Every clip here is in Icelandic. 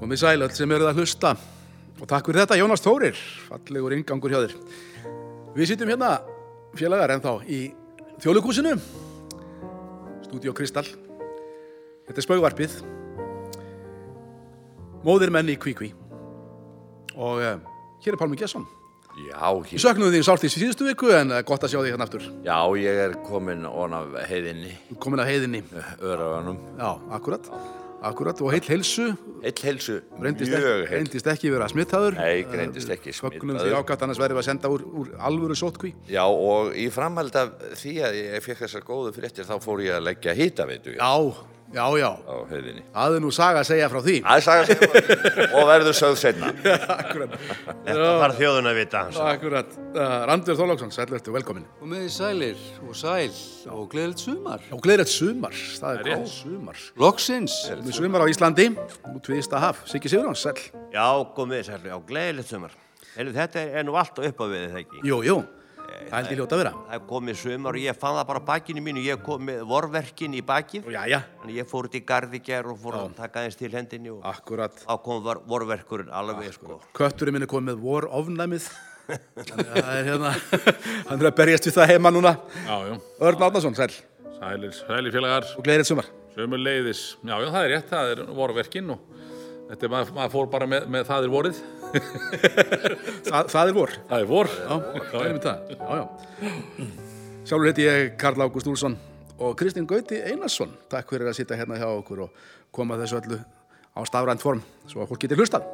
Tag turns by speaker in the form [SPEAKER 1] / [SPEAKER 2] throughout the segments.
[SPEAKER 1] Komið sæl öll sem eruð að hlusta og takk fyrir þetta Jónas Þórir, fallegur ingangur hjá þér. Við sittum hérna félagar ennþá í þjóðlugúsinu, Stúdíó Kristall. Þetta er spaugvarpið, móðir menn í kvíkví og uh, hér er Pálmi Gesson.
[SPEAKER 2] Já,
[SPEAKER 1] Við
[SPEAKER 2] ég,
[SPEAKER 1] söknum þig sált í síðustu viku en eh, gott að sjá þig hérna aftur.
[SPEAKER 2] já, ég er komin on af heiðinni,
[SPEAKER 1] Þú ert Komin að heiðinni.
[SPEAKER 2] öraðanum.
[SPEAKER 1] Já, akkurat. Akkurat og heill heilsu,
[SPEAKER 2] Eitt helsu,
[SPEAKER 1] reyndist
[SPEAKER 2] mjög
[SPEAKER 1] ekki,
[SPEAKER 2] heitt.
[SPEAKER 1] reyndist ekki vera smittaður.
[SPEAKER 2] Nei, greindist ekki
[SPEAKER 1] Skögnum því
[SPEAKER 2] smittaður.
[SPEAKER 1] ákvæmt annars verðum við að senda úr, úr alvöru sótkví.
[SPEAKER 2] Já, og í framhald af því að ég fekk þessar góðu fréttir, þá fór ég að leggja hitaveitu
[SPEAKER 1] Já, já, já.
[SPEAKER 2] á heiðinni.
[SPEAKER 1] Það er nú saga að segja frá því.
[SPEAKER 2] Það er saga sem var- og verður sögð senna.
[SPEAKER 1] Akkurat.
[SPEAKER 3] Það var þjóðun að vita hans.
[SPEAKER 1] Akkurat. Uh, Randur Þorlóksson, sælvertu, velkomin.
[SPEAKER 4] Og með þið sælir og sæl og gleðilegt sumar.
[SPEAKER 1] Já, gleðrætt sumar. Það er
[SPEAKER 3] rétt.
[SPEAKER 1] góð sumar.
[SPEAKER 4] Loksins.
[SPEAKER 1] Við sumar á Íslandi, út við Ísta haf. Siggi Sigurðan, sæl.
[SPEAKER 3] Já, komið þess að, já, gleðilegt sumar. Heyrðu, þetta er- er nú allt upp á við þetta ekki.
[SPEAKER 1] Jú, jú. Það held ég hljóta að vera.
[SPEAKER 3] Það er komið sumar og ég fann það bara á bakinu mínu, ég kom með vorverkin í bakið.
[SPEAKER 1] Já, já.
[SPEAKER 3] Þannig ég fór út í gardi gær og fór að taka aðeins til hendinni og
[SPEAKER 1] Akkurat.
[SPEAKER 3] þá kom var, vorverkurinn alveg, Ah. sko.
[SPEAKER 1] Kötturinn minn er komið með vor ofnæmið. það er hérna, hann er að berjast við það heima núna.
[SPEAKER 5] Já, já,
[SPEAKER 1] Örn Átnason, sæl.
[SPEAKER 5] sælir, sælir félagar,
[SPEAKER 1] Og gleðrætt sumar.
[SPEAKER 5] sömur leiðis. Já, já, það er rétt, það er vorverkin og þetta er, maður, maður fór bara með, með það er vorið.
[SPEAKER 1] Það, það er vor.
[SPEAKER 5] Það er vor.
[SPEAKER 1] Já, það er mitt það. Já, já. Sjálfur heiti ég Karl Ágúst Úlsson og Kristinn Gauti Einarsson. Takk fyrir að sitja hérna hjá okkur og koma þessu öllu á stafrænt form svo að fólk getur hlustað.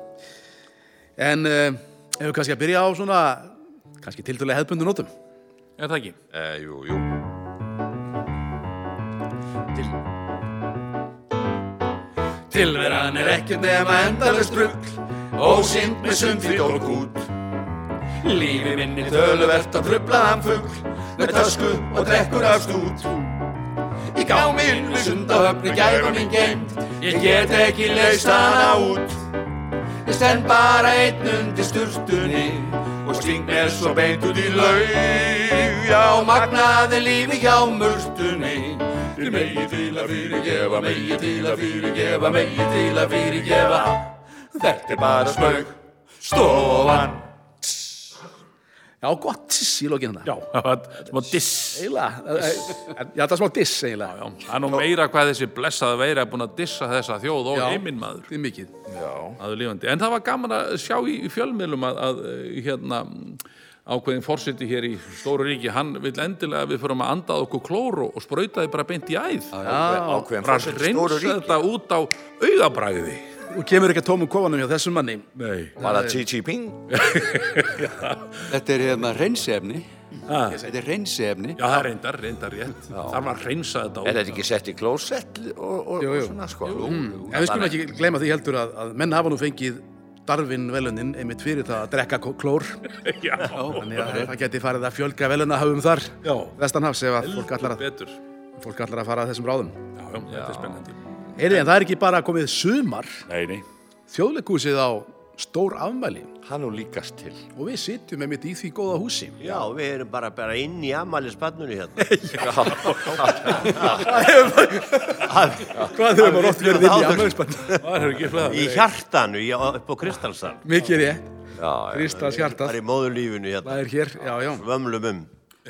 [SPEAKER 1] En uh, ef við kannski að byrja á svona, kannski tildulega hefðbundu nótum.
[SPEAKER 5] Er það ekki?
[SPEAKER 2] Eh, jú, jú.
[SPEAKER 1] Tilveran er ekkert nema endalist rugg
[SPEAKER 2] Ósind með sundfýtt og gút Lífi minni töluvert að trublaðan fugl Með tösku og drekkur af stút Í gáminn við sundahöfni gæfa mín geimt Ég get ekki leist hana út Ég stend bara einn undir sturtunni Og sting mér svo beint út í laug Já, magnaði lífi hjá mörtunni Þið megi til að fyrirgefa, megi til að fyrirgefa, megi til að fyrirgefa Þetta er bara spauk, stofan
[SPEAKER 1] Já, gott tiss í lokinn þetta.
[SPEAKER 5] Já, það var smá diss.
[SPEAKER 1] Eiginlega. eh, Já, það er smá diss eiginlega. Já,
[SPEAKER 5] Það er nú meira hvað þessi blessaða veira er búin að dissa þessa þjóð og heiminn maður.
[SPEAKER 1] Þið mikið.
[SPEAKER 5] Maður lífandi. En það var gaman að sjá í, í fjölmiðlum að, að eh, hérna, ákveðin fórseti hér í Stóru ríki, hann vil endilega að við förum að andað okkur klóru og sprautaði bara beint í æð. Já,
[SPEAKER 2] Ákveðin
[SPEAKER 5] bara reynsa þetta út á augabræði
[SPEAKER 1] Og kemur ekki að tómum kofanum hjá þessum manni.
[SPEAKER 5] Nei
[SPEAKER 2] Var það Tji Tji Ping?
[SPEAKER 4] Þetta er hérna reynsefni.
[SPEAKER 5] Ah.
[SPEAKER 4] Þetta er reynsefni.
[SPEAKER 5] Já, það er reyndar, reyndar rétt Það var að reynsa þetta út
[SPEAKER 2] Er þetta ekki sett í klósett og, og,
[SPEAKER 1] Jú, jú.
[SPEAKER 2] og svona sko?
[SPEAKER 1] En við skulum ekki gleyma því heldur að, að menn hafa nú fengið Darvin velunin einmitt fyrir það að drekka kó- klór
[SPEAKER 5] Já,
[SPEAKER 1] þannig að það geti farið að fjölga velunahafum þar
[SPEAKER 5] Já.
[SPEAKER 1] vestanhafs ef að fólk allar að,
[SPEAKER 5] betur Já,
[SPEAKER 1] fólk allar að fara að þessum ráðum
[SPEAKER 5] já, þetta er spennandi
[SPEAKER 1] Eirið, en það er ekki bara komið sumar
[SPEAKER 5] Nei, nei
[SPEAKER 1] þjóðleikúsið á stór afmæli
[SPEAKER 2] Hann og líkast til
[SPEAKER 1] og við sitjum einmitt í því góða húsi
[SPEAKER 3] Já, við erum bara, bara inn í amali spannunni hérna.
[SPEAKER 1] Hvað höfum við rótt verið inn í
[SPEAKER 3] áður.
[SPEAKER 1] afmælisbann?
[SPEAKER 5] Það er ekki flæða
[SPEAKER 3] Í hjartanu, í, upp á Kristalsal.
[SPEAKER 1] Mikið er ég,
[SPEAKER 2] Já, já.
[SPEAKER 1] Kristans
[SPEAKER 3] Það
[SPEAKER 1] hjartað
[SPEAKER 3] er í móðurlífinu hérna,
[SPEAKER 1] Það er hér, já, já
[SPEAKER 3] vömlum um.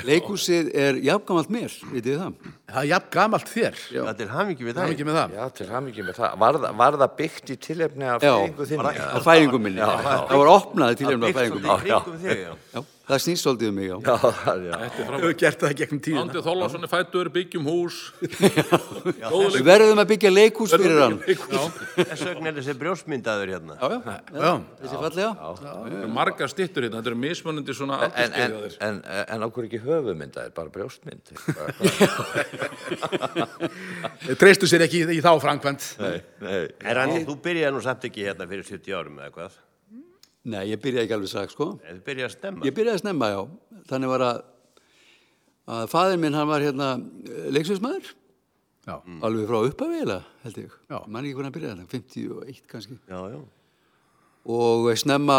[SPEAKER 4] Leikhúsið er jafngamalt mér, vitið þið það?
[SPEAKER 1] Það er jafn gamalt þér,
[SPEAKER 3] Það er hamingi við
[SPEAKER 1] það er
[SPEAKER 3] það.
[SPEAKER 1] mikið með það
[SPEAKER 2] Já, til hamingi með það. Var, það- var það byggt í tilefni af
[SPEAKER 4] Já,
[SPEAKER 2] fengu þinni?
[SPEAKER 4] á fæðingum minni. Það var opnað til hérna á
[SPEAKER 3] Byggt
[SPEAKER 4] fæðingum.
[SPEAKER 3] svolítið í kringum þig, já.
[SPEAKER 4] Já, það snýst svolítið um mig, já.
[SPEAKER 2] Já, það er- já.
[SPEAKER 1] Við höfum gert það gegnum tíðina
[SPEAKER 5] Andið Þorláfsson er fættur, byggjum hús
[SPEAKER 4] Við verðum að byggja leikhús fyrir hann.
[SPEAKER 3] Þess vegna er þessi brjósmyndaður hérna.
[SPEAKER 4] Já, já.
[SPEAKER 1] Já,
[SPEAKER 4] Þessi fallega.
[SPEAKER 5] Margar stittur hérna, þetta eru mismunandi
[SPEAKER 2] En,
[SPEAKER 5] svona
[SPEAKER 2] en,
[SPEAKER 5] aldursskeiðaðir
[SPEAKER 2] en, en okkur ekki höfumynd, það er bara brjóstmynd.
[SPEAKER 1] treystu sér ekki í, í þá framkvæmt
[SPEAKER 2] nei, nei.
[SPEAKER 3] En Randi, þú byrjaði nú samt ekki hérna fyrir 70 árum eða hvað?
[SPEAKER 4] Nei, ég byrjaði ekki alveg strax, sko.
[SPEAKER 3] Nei, Þú byrjaði að stemma.
[SPEAKER 4] Ég byrjaði snemma, já. Þannig var að, að faðir minn, hann var hérna leiksvísmaður,
[SPEAKER 1] Já.
[SPEAKER 4] alveg frá uppafélag, held ég.
[SPEAKER 1] Já.
[SPEAKER 4] Man ekki hvernig að byrjaði þetta, 51 kannski.
[SPEAKER 3] Já, já.
[SPEAKER 4] Og snemma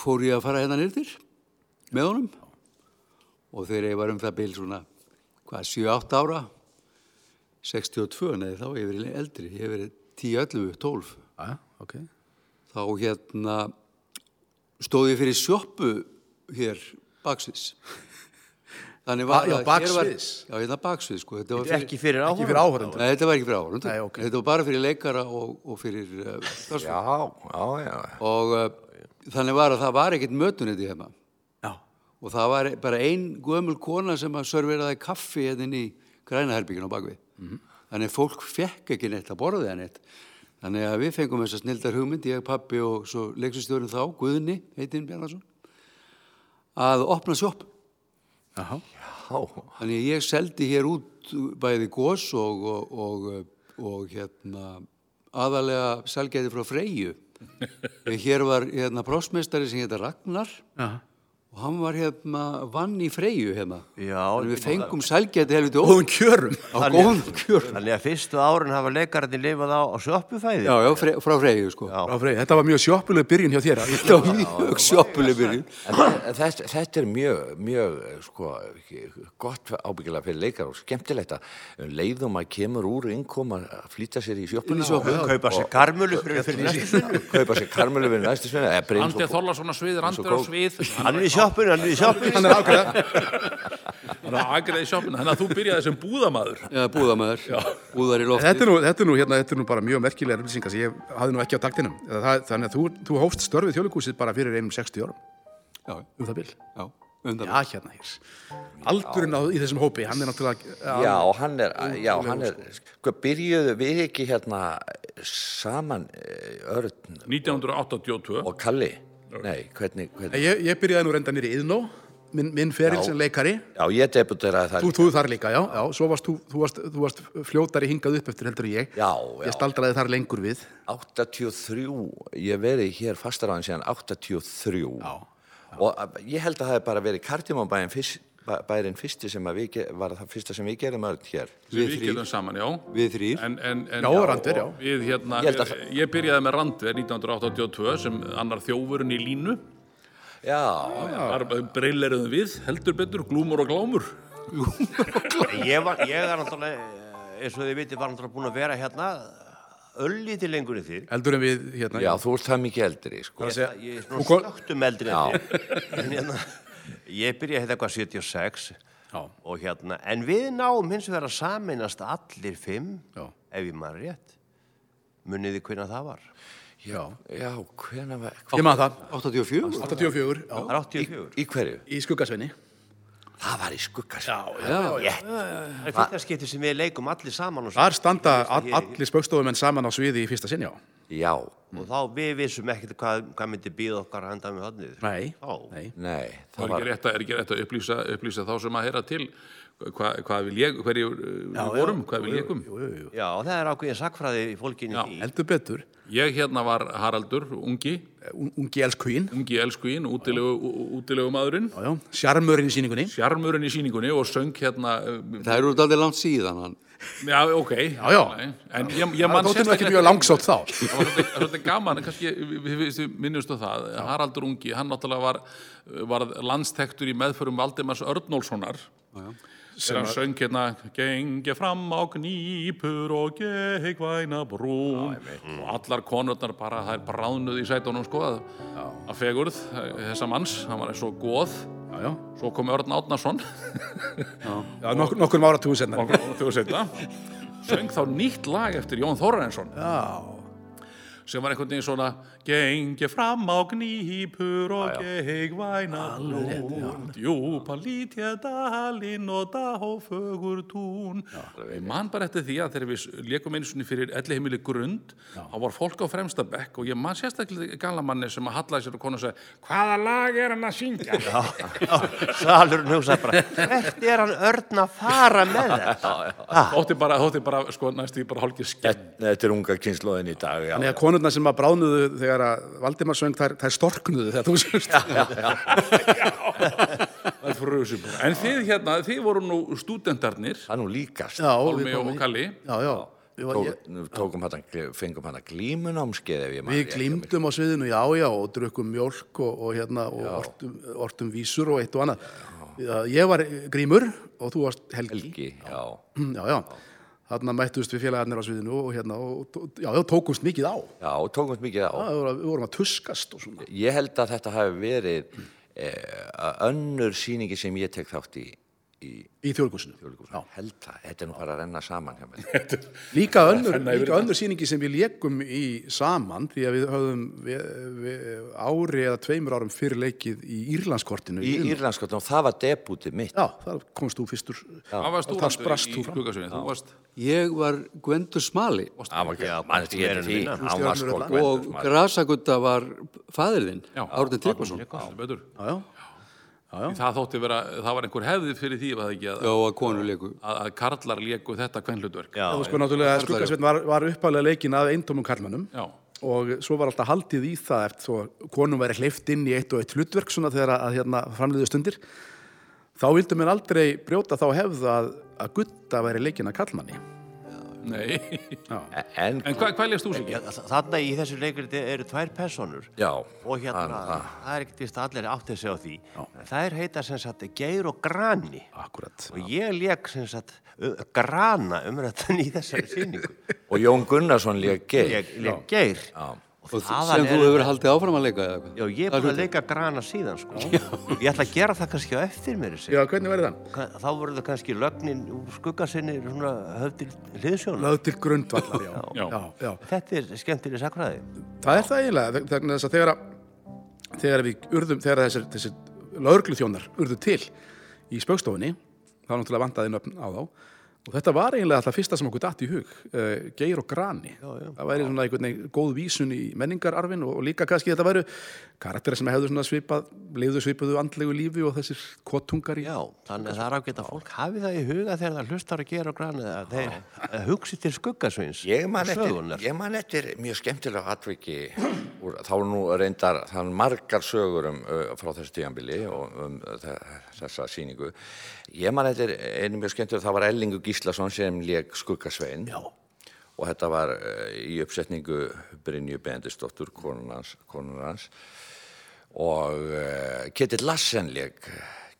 [SPEAKER 4] fór ég að fara hérna nýrtir með honum. Og þegar ég var um það byrjum svona, hvað, 7-8 ára, 62, neði þá, hef ég verið eldri, ég hef verið 10, 11, 12.
[SPEAKER 1] Ah, Já, já, ok.
[SPEAKER 4] þá hérna stóð ég fyrir sjoppu hér baksviðs Þannig var
[SPEAKER 1] Ba- já,
[SPEAKER 4] það- hér var-
[SPEAKER 1] baksviðs.
[SPEAKER 4] Já, hérna baksviðs, sko Þetta var
[SPEAKER 3] Ekki fyrir áhóð.
[SPEAKER 1] Ekki fyrir áhörðendur.
[SPEAKER 4] Nei, þetta var ekki fyrir áhörundur.
[SPEAKER 1] Nei, ok.
[SPEAKER 4] Þetta var bara fyrir leikara og, og fyrir uh, starfsfólk.
[SPEAKER 2] Já, já, já.
[SPEAKER 4] Og uh, þannig var að það var ekkert mötuniti hérna.
[SPEAKER 1] Já.
[SPEAKER 4] Og það var bara ein gömul kona sem að serveraði kaffi hérna inn í grænaherbygginu á bakvið. Þannig að fólk fekk ekki neitt að borða það neitt. Þannig að við fengum þessa snildar hugmynd, ég, pappi og svo leikstustjórinn þá, Guðni, heitinn Bjarnason, að opna sjopp.
[SPEAKER 1] Jaha.
[SPEAKER 4] Þannig að ég seldi hér út bæði gós og, og, og, og hérna, aðalega selgæti frá Freyju. hér var hérna, prósmeistari sem heita Ragnar
[SPEAKER 1] Já.
[SPEAKER 4] og hann var hérna vann í Freyju hérna.
[SPEAKER 3] Já,
[SPEAKER 4] Þannig að við fengum selgæti helviti ó,
[SPEAKER 1] Góðum kjörum.
[SPEAKER 4] á góðum kjörn.
[SPEAKER 3] Þannig að fyrstu árin hafa leikararnir lifað á, á sjoppufæði.
[SPEAKER 4] Já, já, fre, frá Freyju sko.
[SPEAKER 3] Já.
[SPEAKER 1] Já, Freyr, þetta var mjög sjoppuleg byrjun hjá þér.
[SPEAKER 4] Þetta var mjög sjoppuleg byrjun.
[SPEAKER 2] En þetta, þetta er mjög, mjög, sko, gott ábyggilega fyrir leikar og skemmtilegt að um leið og maður kemur úr innkoma að flýta sér í sjoppuna
[SPEAKER 4] sjoppu,
[SPEAKER 2] og
[SPEAKER 3] Kaupa sér karmölu fyrir, fyrir næstu sinu.
[SPEAKER 2] kaupa sér karmölu við næstu Eh, svinna.
[SPEAKER 5] Andri Þorlarsson á svið, Andri á
[SPEAKER 2] góð.
[SPEAKER 5] svið
[SPEAKER 3] Hann er í sjoppunni, hann er í sjoppunni.
[SPEAKER 1] Hann er ákveða.
[SPEAKER 5] Hann er aðgreðið í sjoppuna Þannig að þú byrjaði sem búðamaður
[SPEAKER 4] Já, búðamæður, búðar í lofti.
[SPEAKER 1] Þetta er, nú, þetta, er nú, hérna, þetta er nú bara mjög merkilega upplýsingar sem ég hafði nú ekki á taktinum. Eða Það, þannig að þú, þú hófst störfið þjóðleikúsið bara fyrir einum 60 árum,
[SPEAKER 4] Já,
[SPEAKER 1] um það bil.
[SPEAKER 4] já, undan.
[SPEAKER 1] Já, hérna, hér. Aldurinn á, í þessum hópi, hann er náttúrulega...
[SPEAKER 2] Já, hann er, já, hann er, sko, byrjuðu við ekki hérna saman eh, Örn
[SPEAKER 5] 1982
[SPEAKER 2] og Kalli? Nei, hvernig, hvernig?
[SPEAKER 1] Ég, ég byrjaði nú reynda nýri Iðnó, minn, minn feril
[SPEAKER 2] Já.
[SPEAKER 1] sem leikari.
[SPEAKER 2] Já, ég debuteraði þar.
[SPEAKER 1] Þú, þú þar líka, já, já. Svo varst þú, þú, varst, þú varst fljótari hingað upp eftir heldur en ég.
[SPEAKER 2] Já, já.
[SPEAKER 1] Ég staldraði þar lengur við.
[SPEAKER 2] 83, ég hef verið hér fastaráðin síðan 83 og að- ég held að það hef bara verið kardimónbærin fyrst, bæ- bærinn fyrsti sem að við, ge- var það fyrsta sem við gerum öll hér
[SPEAKER 5] Við gerðum saman, já
[SPEAKER 4] Við þrýr.
[SPEAKER 5] En, en, en,
[SPEAKER 1] Já, Randver, já.
[SPEAKER 5] Við, hérna,
[SPEAKER 2] Ég held að-
[SPEAKER 5] ég, ég byrjaði með Randver 1982 sem annar þjófurinn í línu
[SPEAKER 2] Já,
[SPEAKER 5] Þar breyleruðum við, heldur betur, glúmur og glámur
[SPEAKER 3] Ég, var, ég er náttúrulega, eh, eins og þið vitið, var náttúrulega búin að vera hérna öllítið lengur en þið.
[SPEAKER 1] Eldur en við, hérna.
[SPEAKER 2] já, þú ert það mikið eldri sko.
[SPEAKER 1] Ég-
[SPEAKER 3] Ég, ég er svona
[SPEAKER 1] Þú kom-
[SPEAKER 3] snögtum eldri en þið. En hérna, ég byrjaði hérna eitthvað 76
[SPEAKER 1] Já.
[SPEAKER 3] og hérna, en við náum hins vegar að sameinast allir fimm,
[SPEAKER 1] Já.
[SPEAKER 3] ef ég maður rétt. Munið þið hvernig það var?
[SPEAKER 1] Já.
[SPEAKER 2] Já, hvena var
[SPEAKER 1] Ég maður það.
[SPEAKER 4] 84?
[SPEAKER 1] 84, já.
[SPEAKER 3] Það er 84.
[SPEAKER 2] Í hverju?
[SPEAKER 1] Í skuggasvenni.
[SPEAKER 2] Það var í sko. skuggas Já,
[SPEAKER 4] Já,
[SPEAKER 3] Það er fyrsta skipti sem við leikum allir saman og,
[SPEAKER 1] Þar standa all, allir spaukstofumenn saman á sviði í fyrsta sinn, já.
[SPEAKER 3] og þá við vissum ekkert hvað, hvað myndi býða okkar handa með hodnið.
[SPEAKER 1] Nei.
[SPEAKER 3] Já.
[SPEAKER 1] Nei.
[SPEAKER 2] nei,
[SPEAKER 5] Það
[SPEAKER 2] það
[SPEAKER 5] er
[SPEAKER 2] var
[SPEAKER 5] ekki rétt að, er ekki rétt að upplýsa, upplýsa þá sem að heyra til hva, hvað við lékum, hverju uh, við vorum, hvað um? við lékum.
[SPEAKER 3] Já, það er ákveðin sakfræði í fólkinu í.
[SPEAKER 1] Eldur betur. Eh,
[SPEAKER 5] Ég hérna var Haraldur, ungi,
[SPEAKER 1] Un- Ungi elskvín.
[SPEAKER 5] ungi elskuinn, útilegu maðurinn,
[SPEAKER 1] Já, já. Sjarmörinn í síningunni.
[SPEAKER 5] sjarmurinn í síningunni og söng hérna, uh,
[SPEAKER 4] það eru aldrei langt síðan hann.
[SPEAKER 5] já, ok,
[SPEAKER 1] Já, já.
[SPEAKER 5] Nei, en ég, ég
[SPEAKER 1] Það
[SPEAKER 5] mann
[SPEAKER 1] þóttir nú ekki
[SPEAKER 5] sérstaklega-
[SPEAKER 1] mjög langsátt þá.
[SPEAKER 5] það var svolítið- svolítið gaman, kannski við- við, við, við minnumst á það, Haraldur Ungi, hann náttúrulega var, var landstektur í meðförum Valdimars Örnólfssonar sem hann söng hérna Gengi fram á knýpur og geggvæna brún og allar konurnar bara, það er bráðnuð í sætunum sko að, að fegurð eh, þessa manns, hann var eins og góð
[SPEAKER 1] Já, já.
[SPEAKER 5] svo kom Örn Átnason
[SPEAKER 1] já nok nokkur um áratúin senna.
[SPEAKER 5] þú setna söng þá nýtt lag eftir Jón Þórarensson já. sem var einhvern veginn svona gengi fram á gnýpur og geigvæna lún djúpa lítja dalinn og dáfögur tún ég man bara eftir því að þegar við leikum einu sinni fyrir elli heimili grund þá var fólk á fremsta bekk og ég man sérstaklega galamanni sem að hallaði sér og konu og sagði hvaða lag er hann að syngja
[SPEAKER 3] Já, já, salurinn hugsaði bara, hvert er hann örn að fara með þetta?
[SPEAKER 5] þótti bara, þótti bara sko, næstu í bara hálkið skemmt
[SPEAKER 2] Þetta þetta er unga kynnslóðin í dag já.
[SPEAKER 1] Þannig að konurnar sem að bráðnuðu þegar að Valdimar söng, þær, þær storknuðu þegar þú söngst.
[SPEAKER 5] Það er frusi bara. En þið hérna, þið voru nú stúdendarnir,
[SPEAKER 2] Það er nú líkast
[SPEAKER 1] Já, við
[SPEAKER 5] Pálmi og
[SPEAKER 1] komum í-
[SPEAKER 5] Kalli.
[SPEAKER 1] Já, já. Við, var,
[SPEAKER 2] Tók,
[SPEAKER 1] ég,
[SPEAKER 2] Tókum hann, fengum hann að glímunámskeið ef ég man
[SPEAKER 1] við
[SPEAKER 2] rétt.
[SPEAKER 1] glýmdum á sviðinu, já, já, og drukkum mjólk og, og hérna, og ortum, ortum vísur og eitt og annað. Já, Ég var Grímur og þú varst Helgi.
[SPEAKER 2] Helgi, já
[SPEAKER 1] Já, já. þarna mættust við félagarnir á sviðinu og hérna, og, og, já, það tókumst mikið á.
[SPEAKER 2] Já, tókumst mikið á.
[SPEAKER 1] Já, Við vorum að- við vorum að tuskast og svona.
[SPEAKER 2] Ég held að þetta hafi verið eh, önnur síningi sem ég tek þátt í, í
[SPEAKER 1] Í þjóðleikusinu. Já.
[SPEAKER 2] held það, þetta er nú bara að renna saman hjá mér.
[SPEAKER 1] Líka önnur, líka önnur síningi sem við lékum í saman því að við höfðum við, við, ári eða tveimur árum fyrir leikið í Írlandskortinu.
[SPEAKER 2] Í
[SPEAKER 1] Iðnó.
[SPEAKER 2] Írlandskotnum, það var debútið mitt.
[SPEAKER 1] Já, þar komst þú fyrstur.
[SPEAKER 5] Það varst
[SPEAKER 1] Og
[SPEAKER 5] þú
[SPEAKER 1] það
[SPEAKER 5] Andri,
[SPEAKER 1] sprakst
[SPEAKER 5] í
[SPEAKER 1] þú fram.
[SPEAKER 5] gluggasveinu, þú varst
[SPEAKER 4] Ég var Gwendur Smali
[SPEAKER 2] Það var
[SPEAKER 3] Já,
[SPEAKER 2] mannst ég
[SPEAKER 3] meira en
[SPEAKER 2] eftir því.
[SPEAKER 3] minna.
[SPEAKER 2] Hann var sko
[SPEAKER 1] Stjörnur öll.
[SPEAKER 2] Gvendur
[SPEAKER 4] og
[SPEAKER 2] Smali.
[SPEAKER 4] Grasagutta var fæðirðinn,
[SPEAKER 5] Já,
[SPEAKER 4] Árni Tryggvason.
[SPEAKER 5] Tryggvason, heldur betur.
[SPEAKER 1] Já, já.
[SPEAKER 5] Því Það þótti vera, það var einhver hefði fyrir því var það ekki,
[SPEAKER 4] Já,
[SPEAKER 5] að,
[SPEAKER 4] að konuleiku.
[SPEAKER 5] að, að karlar léku þetta kvenlutverk
[SPEAKER 3] Já,
[SPEAKER 1] Og sko náttúrulega Skuggasveitn var, var uppálega leikinn að eintómum karlmannum
[SPEAKER 5] Já.
[SPEAKER 1] og svo var alltaf haldið í það eftir svo konum væri hleyft inn í eitt og eitt hlutverk svona þegar að hérna framliðu stundir þá vildu mér aldrei brjóta þá hefð að, að gutta væri leikinn að karlmanni
[SPEAKER 5] Nei,
[SPEAKER 2] En,
[SPEAKER 5] en hvað, hvað lést þú
[SPEAKER 3] Já,
[SPEAKER 5] sér?
[SPEAKER 3] þa- þarna í þessu leikuriti eru tvær personur
[SPEAKER 2] já.
[SPEAKER 3] og hérna,
[SPEAKER 2] hann-
[SPEAKER 3] það, er ekkert vist að allir átti sig á því það er heita sem sagt Geir og Grani
[SPEAKER 1] Akkurat
[SPEAKER 3] og ég leik sem sagt uh, Grana umrættan í þessari síningu
[SPEAKER 2] Og Jón Gunnarsson líka geir.
[SPEAKER 3] ég leik Geir og
[SPEAKER 4] Og
[SPEAKER 3] þaðan
[SPEAKER 4] sem þú hefur haldið áfram að leika eða eitthvað.
[SPEAKER 3] Já, ég er búin að leika Grana síðan sko. ég ætla að gera það kannski á eftir mér
[SPEAKER 1] Já, hvernig væri það?
[SPEAKER 3] þá voru það kannski lögnin úr skuggasinni svona höfðir hliðsjónu
[SPEAKER 1] Löð til grundvallar, já.
[SPEAKER 5] Já.
[SPEAKER 1] já, já.
[SPEAKER 3] þetta er skemmtileg sakfræði
[SPEAKER 1] Það er það eiginlega, þeg- vegna þess að þegar, að- þegar við urðum, þegar þessir, þessir laurgluþjónar urðu til í spöggstofunni, þá náttúrulega vantaði nöfn á þá, og þetta var eiginlega alltaf fyrsta sem okkur datt í hug, uh, geir og grani. Það væri svona einhvern veginn góð vísun í menningararfin og, og líka kannski þetta væru karakterar sem hefðu svona svipað, lifðu svipaðu andlegu lífi og þessir kotungar í.
[SPEAKER 3] Já, þannig að það er ágætt að fólk hafi það í huga þegar það hlustar að gera og granið að þeir að hugsi til skuggasveins
[SPEAKER 2] Ég man, eftir,
[SPEAKER 3] sögunar.
[SPEAKER 2] ég man eftir mjög skemmtilega atviki úr, þá er nú reyndar þann margar sögur um, uh, frá þessu tíðanbili og um uh, þe- þessa sýningu ég man eftir einu mjög skemmtilega það var Ellingu Gíslason sem lék Skuggasvein Já. og þetta var uh, í uppsetningu Brynju Bendisdóttur konun hans, konun hans og uh, Ketill Lassen lék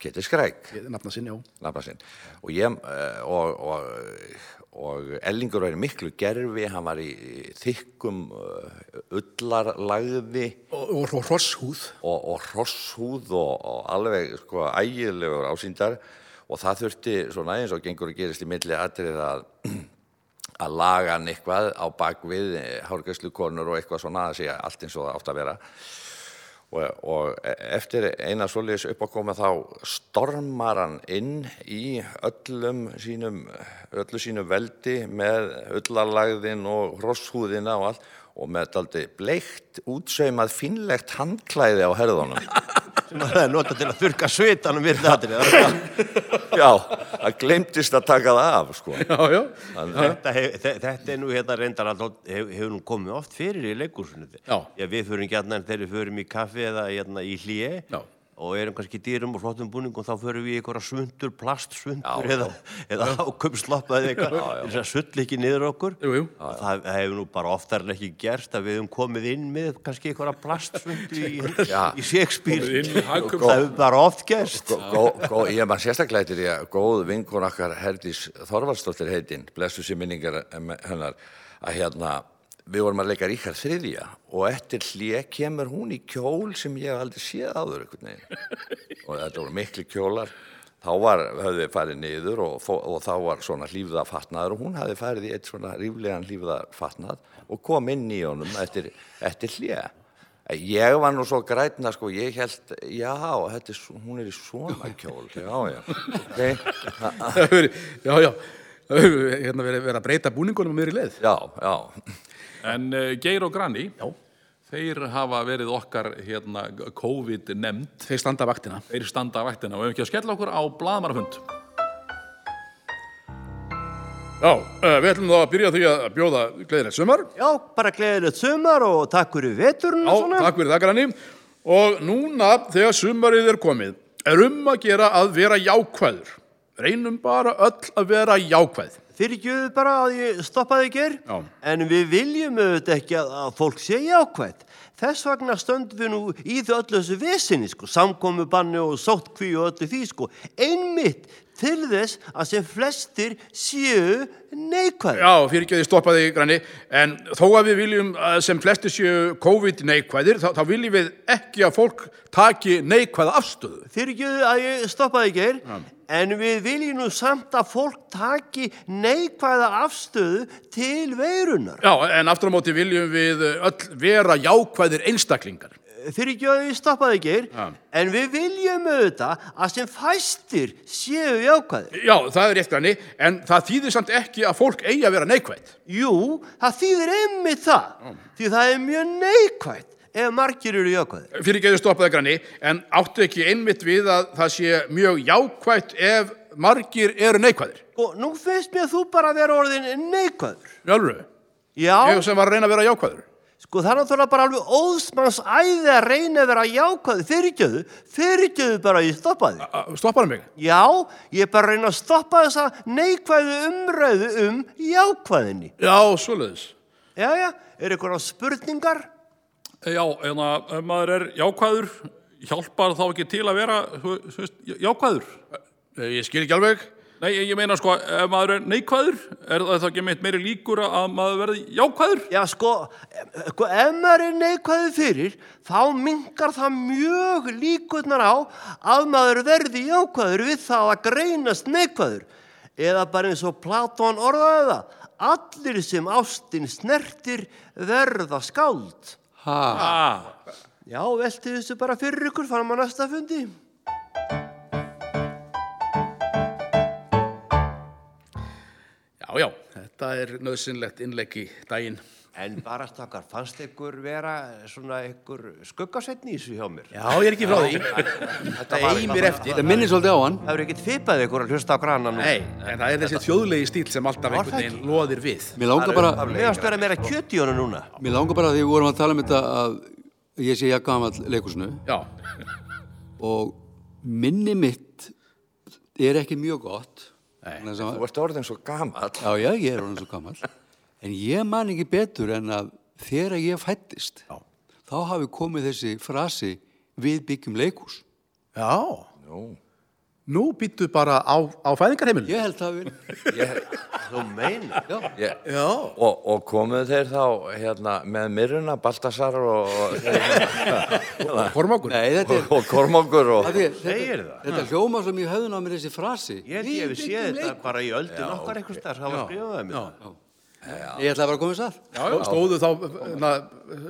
[SPEAKER 2] Ketill Skræk
[SPEAKER 1] Nafna sinni, já.
[SPEAKER 2] nafna sinn og, ég, eh, og, og, og Ellingur var í miklu gerfi hann var í í þykkum eh, ullarlagði
[SPEAKER 1] Og, og, og hrosshúð.
[SPEAKER 2] og, og hrosshúð og, og alveg sko ægilegur ásýndar og það þurfti svona eins og gengur að gerist í milli atrið að að laga hann eitthvað á bakvið hárgæslukonur og eitthvað svona að segja allt eins og það átt að vera og, og e- eftir eina svoleiðis uppákoma þá stormar hann inn í öllum sínum, öllu sínum veldi með ullarlagðin og hrosshúðina og allt og með daldi bleikt, útsaumað, finlegt handklæði á herðunum.
[SPEAKER 3] sem að það er nota til að um þurka svitanum við þetta
[SPEAKER 2] Já, það glemtist að taka það af, sko.
[SPEAKER 1] Já, já.
[SPEAKER 3] þetta, hef, þe- þetta er nú hérna reyndar alltaf, hef, hefur nú komið oft fyrir í leikursinu
[SPEAKER 1] Já.
[SPEAKER 3] við förum gjarnan þegar við förum í kaffi eða hérna, í hlýje
[SPEAKER 1] Já.
[SPEAKER 3] og erum kannski í dýrum og flottum búningum þá förum við í einhverja svundur, plastsvundur eða, eða áköpsloppa eða eitthvað þess að sull ekki niður okkur
[SPEAKER 1] Jú, jú.
[SPEAKER 3] Og það það hefur nú bara oftar en ekki gerst að við hefum komið inn með kannski einhverja plastsvundu í, í Shakespeare
[SPEAKER 5] Komið inn með hagkaup.
[SPEAKER 3] það hefur bara oft gerst
[SPEAKER 2] Gó, Sko, gó, gó, ég maður sérstaklega eftir því að góð vinkun okkar Herdís Þorvaldsdóttir heitinn, blessu sér minningar em, hennar, að hérna, við vorum að leika Ríkar þriðja og eftir hlje kemur hún í kjól sem ég hef aldrei séð áður einhvern veginn. Og þetta voru miklu kjólar. Þá var, höfðu við farið niður og, fó- og þá var svona hlýfða fatnaður og hún hafði farið í eitt svona ríflegan hlýfða fatnað og kom inn í honum eftir, eftir hlje. Ég var nú svo grætna sko, ég held, já, þetta er, svo- hún er í svona kjól, já, já, ok,
[SPEAKER 1] Það hefur verið- já, já. Það hefur verið- hérna, verið verið að breyta búningunum á miðri leið.
[SPEAKER 2] já, já,
[SPEAKER 5] En uh, Geir og Grani,
[SPEAKER 1] Já.
[SPEAKER 5] þeir hafa verið okkar hérna, COVID nefnd,
[SPEAKER 1] Þeir standa vaktina.
[SPEAKER 5] þeir standa að vættina og við hefum ekki að skella okkur á blaðmarafund.
[SPEAKER 1] Já, uh, við ætlum þá að byrja á því að bjóða gleðilegt sumar.
[SPEAKER 3] já, bara gleðilegt sumar og takk fyrir veturinn
[SPEAKER 1] Já,
[SPEAKER 3] og svona
[SPEAKER 1] takk fyrir þakkarani. Og núna, þegar sumarið er komið, er um að gera að vera jákvæður. Reynum bara öll að vera jákvæð.
[SPEAKER 3] fyrirgjöðu bara að ég stoppaði í ger
[SPEAKER 1] Já.
[SPEAKER 3] en við viljum auðvitað ekki að, að fólk sé jákvætt þess vegna stöndum við nú í þau öllu þessu vesinni sko, samkomi banni og sóttkví og öllu því sko, einmitt til þess að sem flestir séu neikvæð.
[SPEAKER 1] Já, fyrir ekki að ég stoppa þig, granni, en þó að við viljum að sem flesti séu COVID neikvæðir, þá, þá viljum við ekki að fólk taki neikvæða afstöðu.
[SPEAKER 3] Fyrir ekki að ég stoppaði ekki er, en við viljum nú samt að fólk taki neikvæða afstöðu til veirunar.
[SPEAKER 1] Já, en aftur á móti viljum við öll vera jákvæðir einstaklingar.
[SPEAKER 3] Fyrir ekki að ég stoppaði ekki er, en við viljum auðvitað að sem fæstir séu jákvæðir.
[SPEAKER 1] Já, það er rétt, granni, en það þýðir samt ekki að fólk eigi að vera neikvæð.
[SPEAKER 3] Jú, það þýðir einmitt það, því það er mjög neikvætt ef margir eru jákvæðir.
[SPEAKER 1] Fyrir ekki að ég stoppa þig, granni, en áttu ekki einmitt við að það sé mjög jákvætt ef margir eru neikvæðir.
[SPEAKER 3] Og Sko, nú finnst mér þú bara að vera orðin neikvæður.
[SPEAKER 1] Jálfur,
[SPEAKER 3] Já,
[SPEAKER 1] ég sem var að reyna að vera jákvæður.
[SPEAKER 3] sko það er náttúrulega bara alveg óðsmanns æði að reyna að vera jákvæður. Fyrirgjöðu, fyrirgjöðu bara að ég stoppa þig.
[SPEAKER 1] A- Stopparðu mig?
[SPEAKER 3] Já, ég er bara að reyna að stoppa þessa neikvæðu umræðu um jákvæðinni.
[SPEAKER 1] Já, svoleiðis.
[SPEAKER 3] Já, já, er eitthvað spurningar?
[SPEAKER 5] Eh, Já, en að ef maður er jákvæður, hjálpar þá ekki til að vera þú þú veist, jákvæður?
[SPEAKER 1] Eh, Ég skil ekki alveg.
[SPEAKER 5] Nei, ég meina sko, ef maður er neikvæður, er það þá ekki meitt meiri líkur að maður verði jákvæður?
[SPEAKER 3] Já, sko, sko, ef maður er neikvæður fyrir, þá mingar það mjög líkurnar á að maður verði jákvæður við það að greinast neikvæður. Eða bara eins og Platón orðaði það, allir sem ástin snertir verða skáld.
[SPEAKER 4] Ha,
[SPEAKER 5] Ah,
[SPEAKER 3] Já, velti þessu bara fyrir ykkur, fannum að næsta fundi.
[SPEAKER 1] Já, já, þetta er nöðsynlegt innlegg í daginn.
[SPEAKER 3] En bara stakkar, fannst ykkur vera svona ykkur skuggasetni í þessu hjá mér?
[SPEAKER 1] Já, ég er ekki frá því.
[SPEAKER 3] Þetta
[SPEAKER 1] Eimir eftir.
[SPEAKER 4] þetta minnir svolítið á hann.
[SPEAKER 3] Það eru ekkert fipað ykkur að hlusta á grana nú.
[SPEAKER 1] Nei, en það er þessi þjóðlegi stíl sem alltaf einhvern veginn loðir við.
[SPEAKER 4] Mér langar bara,
[SPEAKER 3] Mér varst vera meira kjöt í honum núna.
[SPEAKER 4] mér langar bara því við vorum að tala um þetta að ég sé ég gamall leikúsinu
[SPEAKER 1] Já,
[SPEAKER 4] og minni mitt er ekki mjög gott.
[SPEAKER 1] Nei.
[SPEAKER 4] Þannig að-
[SPEAKER 2] Þú ert orðin svo gamall.
[SPEAKER 4] Já, já, ég er orðin svo gammal. En ég man ekki betur en að þegar ég fættist,
[SPEAKER 1] Já.
[SPEAKER 4] þá hafi komið þessi frasi við byggjum leikús.
[SPEAKER 1] já. Nú, Nú býttu bara á, á fæðingarheimilinu.
[SPEAKER 4] Ég held það að við...
[SPEAKER 3] Þú meina?
[SPEAKER 2] Ég, og, og komuð þeir þá hérna, með Miruna, Baltasar og, og,
[SPEAKER 1] Kormákur.
[SPEAKER 4] Nei, þetta er...
[SPEAKER 2] og, og Kormákur og
[SPEAKER 4] af því að Þetta,
[SPEAKER 3] Segirðu það?
[SPEAKER 4] þetta hljóma svo mjög höfðun á mér þessi frasi.
[SPEAKER 3] Ég held ég hefði séð þetta bara í öldu nokkar eitthvað starf, það var skrifaðið mér.
[SPEAKER 4] Ég ætla að vera að koma þess að.
[SPEAKER 1] Já, já. Stóðu þá, eh, na,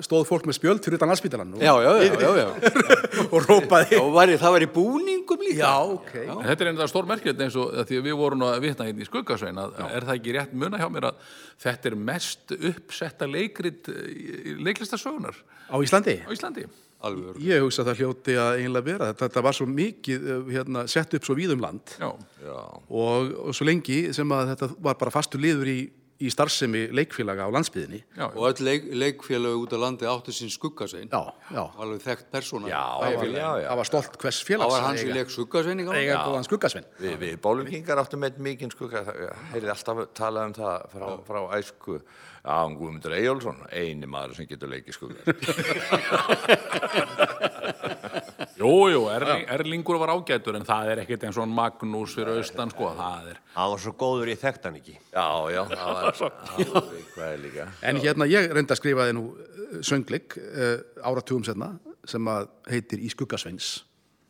[SPEAKER 1] stóð fólk með spjöld fyrir utan landsbítalann og,
[SPEAKER 4] Já, já, já, já, já.
[SPEAKER 1] og rópaði.
[SPEAKER 4] Og væri, það væri búningum líka.
[SPEAKER 1] Já, ok.
[SPEAKER 5] þetta er einnig að stór merkjöld eins og að því að við vorum að vitna hérna í skuggasvein að er það ekki rétt muna hjá mér að þetta er mest uppsetta leikrit leiklistasögunar á
[SPEAKER 1] Á Íslandi?
[SPEAKER 5] Íslandi?
[SPEAKER 4] Alveg. örugg.
[SPEAKER 1] Ég hugsa að það hljóti að eiginlega vera. Þetta, þetta var svo mikið eh, hérna, sett upp svo víðum land
[SPEAKER 5] Já,
[SPEAKER 1] og, og svo lengi sem að þetta var bara fastur liður í, í starfsemi leikfélaga á landsbyðinni.
[SPEAKER 5] já,
[SPEAKER 4] Og öll leik, leikfélög út á landi áttu sín skuggasvein.
[SPEAKER 1] Já, já.
[SPEAKER 4] Og alveg þekkt persóna.
[SPEAKER 2] Já, já, já.
[SPEAKER 1] Það var stolt hvers
[SPEAKER 4] Það
[SPEAKER 1] félags
[SPEAKER 4] var hans í
[SPEAKER 1] að eiga-
[SPEAKER 4] leik skuggasvein í gamla daga.
[SPEAKER 1] eiga góðan skuggasvinn.
[SPEAKER 2] Við, við bólvíkingar áttum eitt mikinn skugga, heyrði alltaf talað um það frá, frá æsku, já, um Guðmundur Eyjólfsson, eini maður sem getur leikið skugga.
[SPEAKER 5] jú, jú, Erling, Erlingur var ágætur en það er ekkert eins og hann Magnús fyrir austan sko, það er
[SPEAKER 3] Það var svo góður, ég þekkt hann ekki.
[SPEAKER 2] Já, já, það var, það var eitthvað líka.
[SPEAKER 1] En hérna ég reynda að skrifaði nú eh, söngleik uh, áratugum setna sem að heitir Í skuggasveins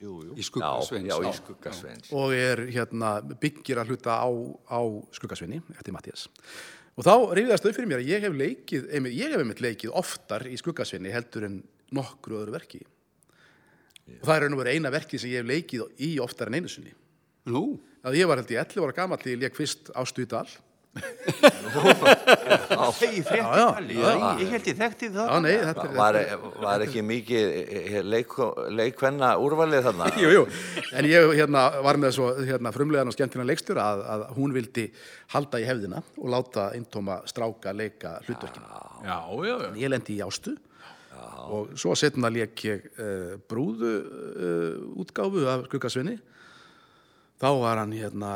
[SPEAKER 4] Í
[SPEAKER 2] Já,
[SPEAKER 4] skuggasvein.
[SPEAKER 2] já, í skuggasveins.
[SPEAKER 1] og er hérna byggir að hluta á, á skuggasveinni eftir Mattias. Og þá reyfiðast þau fyrir mér að ég hef leikið, einmitt, ég hef einmitt leikið oftar í skuggasveinni heldur en nokkru öðru verki. Og það er raun og verið eina verki sem ég hef leikið í oftar en einu sinni.
[SPEAKER 4] Nú,
[SPEAKER 1] Að ég var held ég 11 ára gamall þegar ég leik fyrst ástu í dal.
[SPEAKER 3] Þegar ég frétti
[SPEAKER 1] já,
[SPEAKER 3] tali, ég, ég held ég þekkti það.
[SPEAKER 1] Já, nei, þetta er...
[SPEAKER 2] Var, var ekki mikið eh, leik, leikvenna úrvalið þarna?
[SPEAKER 1] Jú, jú, en ég hérna, var með svo hérna, frumlegan og skemmtina leikstur að, að hún vildi halda í hefðina og láta eintóma stráka leika hlutverkina.
[SPEAKER 5] Já, já, já,
[SPEAKER 1] Ég lendi í ástu og svo setna leik ég uh, brúðu uh, útgáfu af Skuggasvinni. Þá var hann hérna,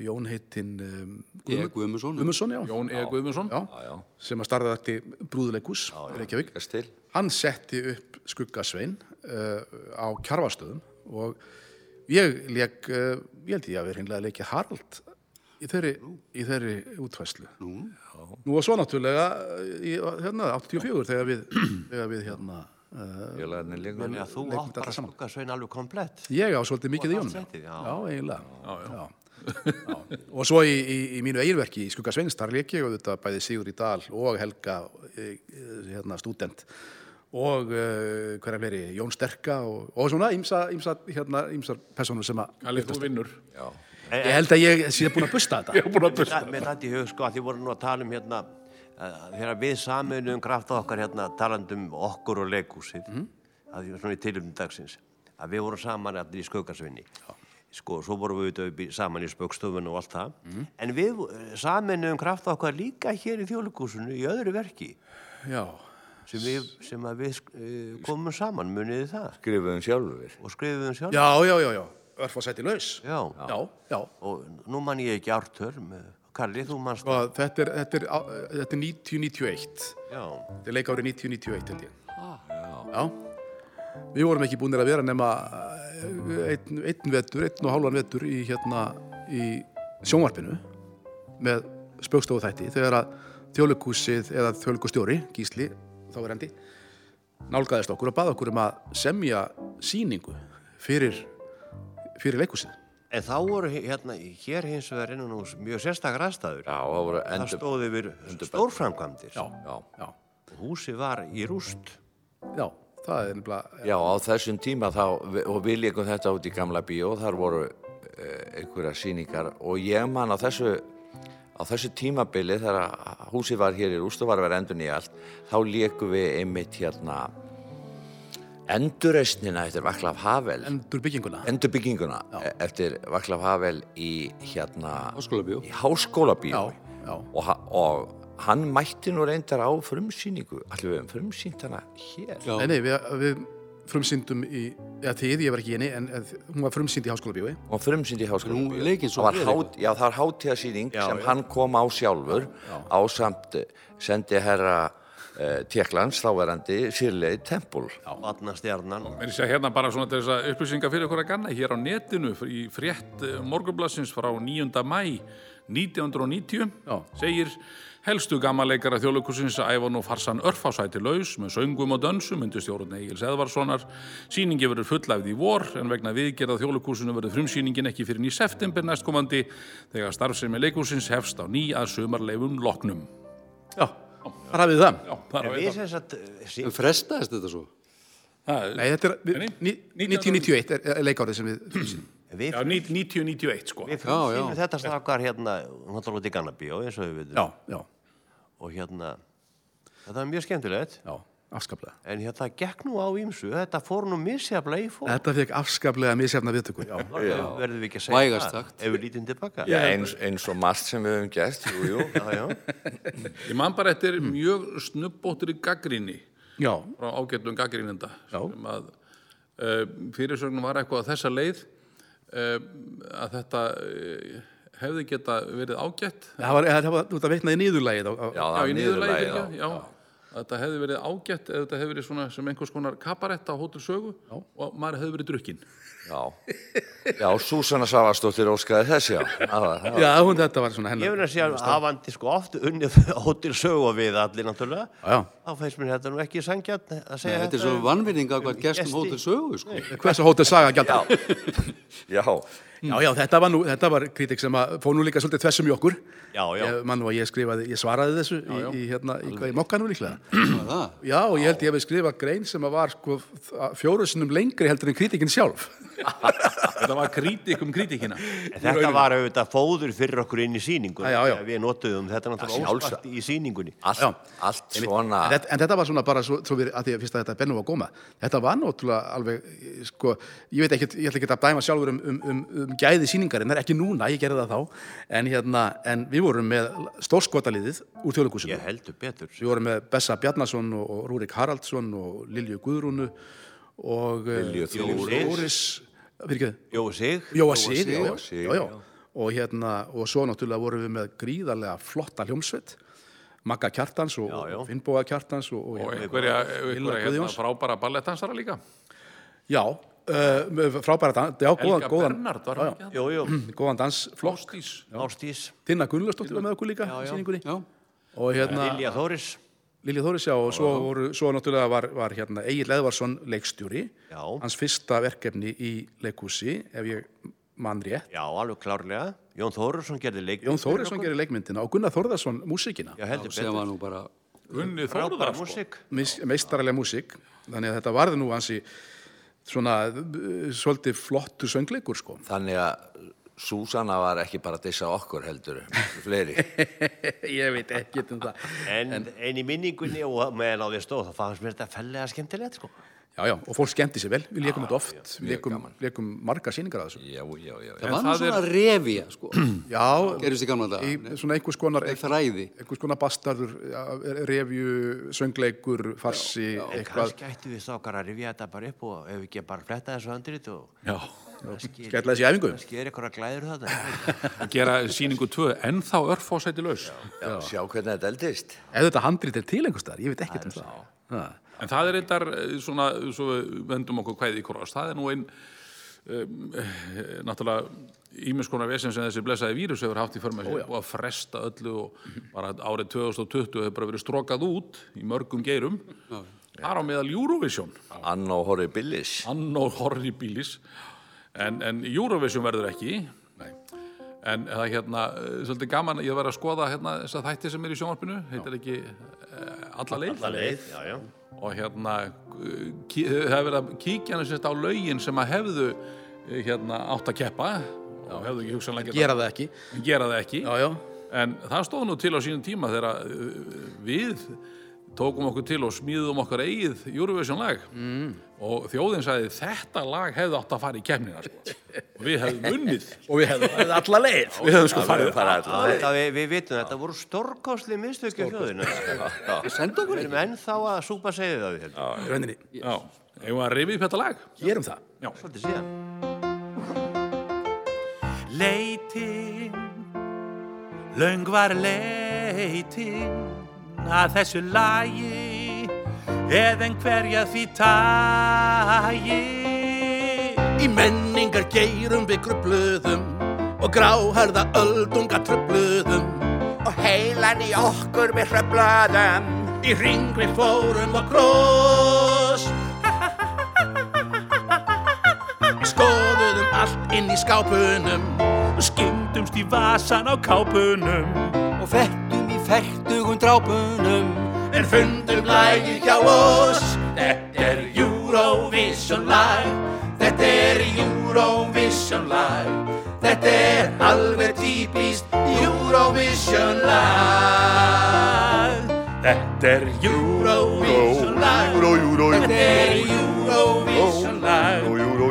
[SPEAKER 1] Jón heitinn um,
[SPEAKER 4] ég Guðmundsson.
[SPEAKER 1] Guðmundsson, já,
[SPEAKER 5] Jón E. Guðmundsson
[SPEAKER 1] já, sem að starfaði eftir brúðuleikus í Reykjavík.
[SPEAKER 2] Leikast til.
[SPEAKER 1] Hann setti upp skuggasvein uh, á kjarfastöðum eh, og ég leik, uh, ég held ég að við hreinlega leikið Harald í þeirri, í þeirri útfæslu. Nú, Nú og svo náttúrulega uh, í, hérna, 84 þegar við, þegar við hérna, uh,
[SPEAKER 2] Félagarnir líka.
[SPEAKER 3] Þannig að þú átt
[SPEAKER 1] Leikmynd
[SPEAKER 3] bara
[SPEAKER 1] alla saman.
[SPEAKER 3] skugga svein alveg komplett.
[SPEAKER 1] ég á svolítið mikið í
[SPEAKER 3] átt
[SPEAKER 1] honum.
[SPEAKER 3] sætið, já.
[SPEAKER 1] eiginlega. Já, já. Já. Og svo í, í, í mínu eiginverki í Skugga Sveins, þar leik ég auðvitað bæði Sigur í Dal og Helga eh, eh, hérna, stúdent og uh, hverja fleiri, Jón Sterka og, og svona ímsa, ímsa, hérna, ímsar personur sem að
[SPEAKER 5] Kalli, þú vinnur.
[SPEAKER 1] Ég held að ég sé búin að busta þetta.
[SPEAKER 5] Ég er búin að busta.
[SPEAKER 3] Mér dætti í hug sko að því voru nú að tala um hérna að þegar við saminum krafta okkar hérna talandum okkur og leikhúsið
[SPEAKER 1] Mhm.
[SPEAKER 3] að því svona í tilum dagsins að við vorum saman allir í skaukarsvinni sko, svo vorum við auðvitað upp í- saman í spaukstofunni og allt það
[SPEAKER 1] Mhm.
[SPEAKER 3] en við saminum krafta okkar líka hér í þjóðleikúsinu í öðru verki
[SPEAKER 1] Já,
[SPEAKER 3] sem, við, sem að við uh, komum saman muniði það
[SPEAKER 2] Skrifuðum sjálfur.
[SPEAKER 3] og skrifum sjálf
[SPEAKER 1] já, já, já, já. Örf að setja laus.
[SPEAKER 3] Já.
[SPEAKER 1] já. já.
[SPEAKER 3] og nú man ég ekki ártör Kalli, þú manst
[SPEAKER 1] Og þetta er, þetta er, á- þetta er 90-91.
[SPEAKER 3] Já.
[SPEAKER 1] Þetta er leik árið 90-91 held ég. Já. já. Við vorum ekki búinir að vera nema eh, einn, einn vetur, einn og hálfan vetur í hérna í sjónvarpinu með spökstofu þætti þegar að þjóðleikúsið eða þjóðleikustjóri, Gísli, þá er endi, nálgæðist okkur og bað okkur um að semja sýningu fyrir, fyrir leikúsið.
[SPEAKER 3] En þá voru he- hérna, hér hins vegar innan úr mjög sérstakar aðstæður.
[SPEAKER 2] Já, það voru
[SPEAKER 3] það
[SPEAKER 2] endur.
[SPEAKER 3] stóði yfir stórframkvæmdir.
[SPEAKER 2] Já.
[SPEAKER 1] Já,
[SPEAKER 3] Húsi var í rúst.
[SPEAKER 1] já, það er nefnilega,
[SPEAKER 2] Já, á þessum tíma þá, og við leikum þetta út í gamla bíó, þar voru eh, einhverja sýningar og ég man á þessu, á þessu tímabili þegar að húsið var hér í rúst og var að vera endur nýjalt, þá leikum við einmitt hérna endurreisnina eftir Vaklav Havel,
[SPEAKER 1] endur bygginguna.
[SPEAKER 2] endurbygginguna e- eftir Vaklav Havel í hérna...
[SPEAKER 4] Háskólabíó.
[SPEAKER 2] Í háskólabíó.
[SPEAKER 1] Já, já.
[SPEAKER 2] Og, ha- og hann mætti nú reyndar á frumsýningu, allir við hefum frumsýnt hana hér.
[SPEAKER 4] Já.
[SPEAKER 1] Nei, nei, við, við frumsýndum í, eða þið, ég var ekki í henni, en eh, hún var frumsýnd í háskólabíói.
[SPEAKER 2] og frumsýnd í háskóla
[SPEAKER 4] Nú, leikinn svo
[SPEAKER 2] það
[SPEAKER 4] við
[SPEAKER 2] var, hát, já, það var hátíðasýning sem hann kom á sjálfur á samt sendi herra uh, Téklands þáverandi sýrlegi tempul
[SPEAKER 3] Vatnastjarnan.
[SPEAKER 5] Mér sé hérna bara svona til þess að upplýsinga fyrir okkur að ganna hér á netinu í frétt morgunblassins frá 9. mæ 1990
[SPEAKER 1] Já.
[SPEAKER 5] segir helstu gammaleikara þjóðleikusins Ævan og Farsan Örfásæti laus með söngum og dönsum undir stjórn Egil Seðvarssonar. Sýningi verður fullæfð í vor en vegna viðgerða þjóðleikusinu verður frumsýningin ekki fyrir í september næstkomandi þegar starfsemi leikusins hefst á ný að sumarleifum loknum.
[SPEAKER 1] Já, þar hafið þið það.
[SPEAKER 5] Já, það
[SPEAKER 3] En
[SPEAKER 5] er
[SPEAKER 3] við
[SPEAKER 5] það.
[SPEAKER 3] sem sagt, eh, sí-
[SPEAKER 4] Frestaðist þetta svo?
[SPEAKER 5] Það er-
[SPEAKER 1] Nei, þetta er við-
[SPEAKER 5] Nei,
[SPEAKER 1] ní- 1991 er, er leikárið sem við frumsýndum.
[SPEAKER 3] við,
[SPEAKER 5] Já, 90-91 sko.
[SPEAKER 3] við
[SPEAKER 4] Já, já.
[SPEAKER 3] finnum þetta strákar hérna, náttúrulega út í Gannabíó, eins og við veitum.
[SPEAKER 1] Já, já,
[SPEAKER 3] Og hérna, þetta var mjög skemmtilegt.
[SPEAKER 1] já, afskaplega.
[SPEAKER 3] En hérna, það gekk nú á ímsu, þetta fór nú misjaflega í fór.
[SPEAKER 1] Þetta fekk afskaplega misjafna viðtöku, já.
[SPEAKER 3] Verðum við ekki að segja
[SPEAKER 4] Vægast
[SPEAKER 3] það,
[SPEAKER 4] sagt.
[SPEAKER 3] ef við lítum tilbaka.
[SPEAKER 2] já, eins, eins og margt sem við hefum gert jú, jú.
[SPEAKER 3] Já, já.
[SPEAKER 5] Ég man bara eftir mjög snubbóttir í gaggrinni
[SPEAKER 1] Já,
[SPEAKER 5] frá ágætlum gaggrínenda
[SPEAKER 1] Já.
[SPEAKER 5] sem að uh, fyrirsögnum var eitthvað að þessa leið uh, að þetta uh, hefði geta verið ágætt
[SPEAKER 1] það var, það var, þú ert að vitna í niðurlægið. á- á-
[SPEAKER 2] já, það var
[SPEAKER 5] í niðurlagi,
[SPEAKER 2] niðurlagið
[SPEAKER 5] fyrirgefðu, já, að þetta hefði verið ágætt eða þetta hefði verið svona sem einhvers konar kabarett á hótel sögu og maður hefði verið drukkin
[SPEAKER 2] já, já, Súsanna Savastóttir óskaði þess já, það var, það var.
[SPEAKER 1] Já, hún, þetta var svona
[SPEAKER 3] Ég
[SPEAKER 1] hennar.
[SPEAKER 3] finn að segja hafandi sko oft unnið hóttir sögu við allir náttúrulega.
[SPEAKER 1] Já,
[SPEAKER 3] Þá fæst mér þetta nú ekki sangjarn að segja
[SPEAKER 4] Nei, þetta er svo
[SPEAKER 3] um-
[SPEAKER 4] vannvinning að hvað
[SPEAKER 3] um
[SPEAKER 4] gestum
[SPEAKER 3] gesti.
[SPEAKER 4] hótið sögu, sko.
[SPEAKER 1] hversu hótið saga gæta.
[SPEAKER 2] já,
[SPEAKER 1] Já, já, þetta var, nú, þetta var kritik sem að fóð nú líka svolítið þessum í okkur.
[SPEAKER 3] Já, já.
[SPEAKER 1] Ég, mann og ég skrifaði, ég svaraði þessu í, í, hérna, í, í mokkanum líklega.
[SPEAKER 4] Það var það.
[SPEAKER 1] Já, og ég held ég hefði skrifað grein sem að var sko, fjórusunum lengri heldur en kritikinn sjálf.
[SPEAKER 5] þetta var krítik um krítikina
[SPEAKER 3] En Þetta var auðvitað fóður fyrir okkur inn í síningu.
[SPEAKER 1] Já, já, já.
[SPEAKER 3] Við notuðum þetta náttúrulega
[SPEAKER 2] sjálfsagt.
[SPEAKER 3] óspart í síningunni.
[SPEAKER 1] Já.
[SPEAKER 2] allt, allt svona
[SPEAKER 1] En, þetta- en þetta var svona bara svo, svo við, að því að fyrst að þetta er Bennu að góma. Þetta var náttúrulega alveg, eh, sko, ég veit ekki, ég ætla ekki að dæma sjálfur um, um, um, um gæði síningarinn, það er ekki núna, ég gerði það þá, en hérna, en við vorum með stórskotaliðið úr þjóðleikúsinu.
[SPEAKER 3] Ég heldur betur.
[SPEAKER 1] Við vorum með Bessa Bjarnason og, og Rúrik Haraldsson og Lilju Guðrúnu og eh,
[SPEAKER 2] Lilju
[SPEAKER 1] Þóris, fyrir ekki
[SPEAKER 3] Jó, sig.
[SPEAKER 1] Jóa Sig, já,
[SPEAKER 2] Jóa
[SPEAKER 1] já,
[SPEAKER 2] Sig,
[SPEAKER 1] já, já. Og, hérna, og svo náttúrulega vorum við með gríðarlega flotta hljómsveit Magga Kjartans og,
[SPEAKER 3] Já, já.
[SPEAKER 1] og Finnbóa Kjartans og, og,
[SPEAKER 5] og einhverja,
[SPEAKER 1] Illa
[SPEAKER 5] einhverja hérna,
[SPEAKER 1] Guðjóns.
[SPEAKER 5] frábæra ballettansara líka
[SPEAKER 1] Já, uh, frábæra dans, já, góðan,
[SPEAKER 5] Helga
[SPEAKER 1] góðan,
[SPEAKER 5] Bernard var hann ekki hann?
[SPEAKER 3] Jú, jú,
[SPEAKER 1] góðan dansflokk.
[SPEAKER 5] Ástís
[SPEAKER 3] Ástís,
[SPEAKER 1] Tinna Gunnlaustóttir var með okkur líka í síningunni.
[SPEAKER 4] Já,
[SPEAKER 1] Og hérna,
[SPEAKER 3] Lilja Þóris
[SPEAKER 1] Lilja Þórisjá og svo, voru, svo náttúrulega var, var hérna Egil Eðvarsson leikstjúri.
[SPEAKER 3] Já.
[SPEAKER 1] Hans fyrsta verkefni í leikhúsi, ef ég mann rétt.
[SPEAKER 3] Já, alveg klárlega Jón Þórisson gerði leik
[SPEAKER 1] Jón Þórisson gerir leikmyndina og Gunnar Þórðarsson músíkina.
[SPEAKER 3] Já, heldur
[SPEAKER 4] sem
[SPEAKER 3] betur
[SPEAKER 4] var nú bara
[SPEAKER 5] Unni
[SPEAKER 3] Frábær
[SPEAKER 5] Þórðar sko.
[SPEAKER 3] músík
[SPEAKER 1] Mis- meistaraleg músík þannig að þetta varði nú hansi svona uh, svolítið flottu söngleikur sko
[SPEAKER 2] Þannig að Súsanna var ekki bara að dissa okkur heldur, fleiri.
[SPEAKER 1] ég veit ekki um það
[SPEAKER 3] En, en í minningunni og meðan á því stóð þá fannst mér þetta fellega skemmtilegt sko.
[SPEAKER 1] já já og fólk skemmti sér vel við leikum þetta oft við leikum, leikum marga síningar að þessu
[SPEAKER 2] Já, já, já. já.
[SPEAKER 4] það var nú svona er... revía sko
[SPEAKER 1] já
[SPEAKER 4] gerist í gamla daga
[SPEAKER 1] í,
[SPEAKER 4] Nei,
[SPEAKER 1] svona einhvers konar
[SPEAKER 4] þræði
[SPEAKER 1] einhvers konar bastardur já, revju söngleikur farsi
[SPEAKER 3] En
[SPEAKER 1] eitthvað
[SPEAKER 3] kannski ættu við strákar að rifja þetta bara upp og ef við ekki bara fletta þessu andrit og
[SPEAKER 5] Já,
[SPEAKER 3] kannski
[SPEAKER 1] skella þessi í æfingu
[SPEAKER 3] kannski er eitthvað glæður þetta
[SPEAKER 5] að gera síningu 2 ennþá örfósæti laus
[SPEAKER 2] Sjá hvernig þetta eldist.
[SPEAKER 1] ef þetta handrit er til einhvers staðar ég veit ekki um það Ha.
[SPEAKER 5] En það er eittar svona, svo við vendum okkur kvæði í kross, það er nú einn um, eh, náttúrulega ímiðskonar vesen sem þessi blessaði vírus hefur haft í förmæsi og að fresta öllu og bara árið 2020 hefur bara verið strokað út í mörgum geirum þar á meðal Eurovision
[SPEAKER 2] Anna og Horri Billis.
[SPEAKER 5] anno horribilis en, en Eurovision verður ekki Nei. en það er hérna eh, svolítið gaman, ég var að skoða hérna þessa þætti sem er í sjónvarpinu, heitir ekki eh, alla leið, alla
[SPEAKER 3] leið, já, já.
[SPEAKER 5] og hérna eh, kí- það hefur verið að kíkja hann sérst á lögin sem að hefðu eh, hérna átt að keppa og hefðu ekki hugsanlega getað-
[SPEAKER 1] gera það ekki
[SPEAKER 5] gera það ekki
[SPEAKER 1] já já
[SPEAKER 5] en það stóð nú til á sínum tíma þegar að, uh, við tókum okkur til og smíðum okkar eigið Eurovision lag mm. og þjóðin sagði þetta lag hefði átt að fara í kemnina sko. og við hefðum unnið
[SPEAKER 1] og við hefðum alla leið
[SPEAKER 5] við hefðum sko farið
[SPEAKER 3] Þetta, við, við vitum þetta voru stórkostli mistökja þjóðinu
[SPEAKER 4] senda
[SPEAKER 3] Við
[SPEAKER 4] okkur
[SPEAKER 3] erum ennþá að súpa segið það við þetta
[SPEAKER 1] í rauninni
[SPEAKER 5] já, eigum við að rifja upp þetta lag
[SPEAKER 1] gerum það
[SPEAKER 5] já,
[SPEAKER 3] Svolítið síðan Leitin Löng var leitin að þessu lagi eða einhverja því tagi
[SPEAKER 6] Í menningar geirum við grubluðum og gráharða öldunga tröfluðum og heilan í okkur við hröflaðum í ring við fórum og grós skoðuðum allt inn í skápunum og skindumst í vasan á kápunum
[SPEAKER 4] og fettum í fertugum drápunum
[SPEAKER 6] en fundum lagið hjá oss þetta er Eurovision lag þetta er Eurovision lag þetta er alveg típist Eurovision lag þetta er Eurovision lag þetta er Eurovision lag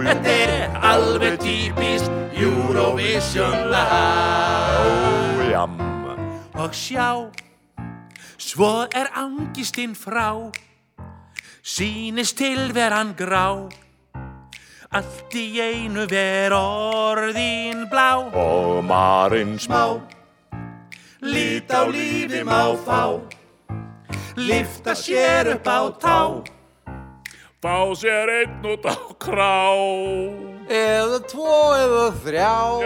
[SPEAKER 6] þetta er alveg típist Eurovision lag og sjá Svo er angistinn frá Sýnist tilveran grá Allt í einu ver orðin blá Og marinn smá Lít á lífi má fá Lifta sér upp á tá
[SPEAKER 5] bá sér einn út á krá
[SPEAKER 4] eða tvo eða þrjá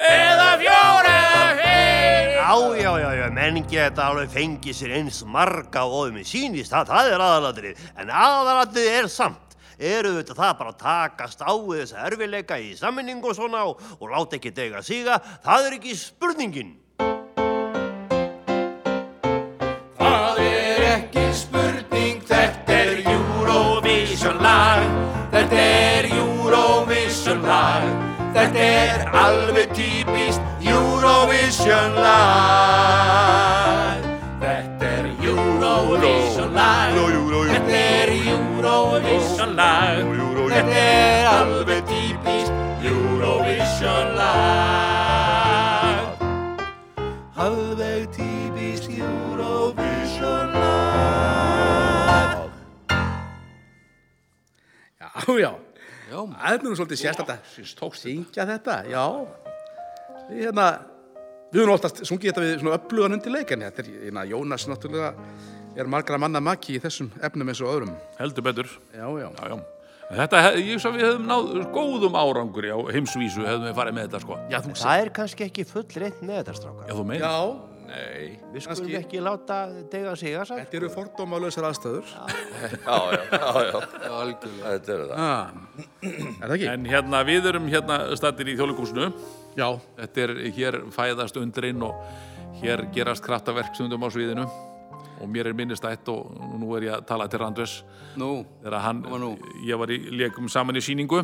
[SPEAKER 5] eða fjóra hei
[SPEAKER 3] Já, já, já, já, menningi þetta alveg fengi sér eins marga og um í sínist, það, það er aðalatrið en aðalatrið er samt eru þetta það bara að takast á við þessa erfileika í sammenningu og svona og, og láta ekki dega síga, það er ekki spurningin
[SPEAKER 6] Það er ekki spurning, þetta er Eurovision lag Þetta er Eurovision lag Þetta er alveg típist Eurovision lag Þetta er Eurovision lag Þetta er Eurovision lag Þetta er alveg típist Eurovision lag Alveg típist Eurovision lag
[SPEAKER 1] já já
[SPEAKER 4] Já.
[SPEAKER 1] það er nú svolítið sérstætt að
[SPEAKER 5] tókst þetta
[SPEAKER 1] syngja þetta, já við hérna við höfum oftast sungið þetta við svona upplugan undir leik en þetta er, hérna, Jónas náttúrulega er margra manna maki í þessum efnum eins og öðrum
[SPEAKER 5] heldur betur
[SPEAKER 1] já, já,
[SPEAKER 5] já, já. Þetta, hef- ég svo við hefðum náð góðum árangri á heimsvísu hefðum við farið með þetta sko.
[SPEAKER 1] Já, þú
[SPEAKER 3] Það er kannski ekki full reynd með þetta strákar.
[SPEAKER 5] Já, þú meina.
[SPEAKER 1] Já,
[SPEAKER 2] Nei,
[SPEAKER 3] Við skulum
[SPEAKER 1] kannski-
[SPEAKER 3] ekki láta dega sig að sagt.
[SPEAKER 1] þetta eru fordómalösar aðstæður.
[SPEAKER 2] já, já, já, já.
[SPEAKER 4] algjörlega.
[SPEAKER 2] Þetta eru það.
[SPEAKER 1] Ah. Er það ekki?
[SPEAKER 5] En hérna, við erum hérna stattir í þjóðleikúsinu.
[SPEAKER 1] Já.
[SPEAKER 5] Þetta er, hér fæðast undrin og hér gerast kraftaverk stundum á sviðinu. Og mér er minnistætt og nú er ég að tala til Randvers.
[SPEAKER 4] Nú,
[SPEAKER 5] Þegar hann,
[SPEAKER 4] Koma nú.
[SPEAKER 5] ég var í leikum saman í síningu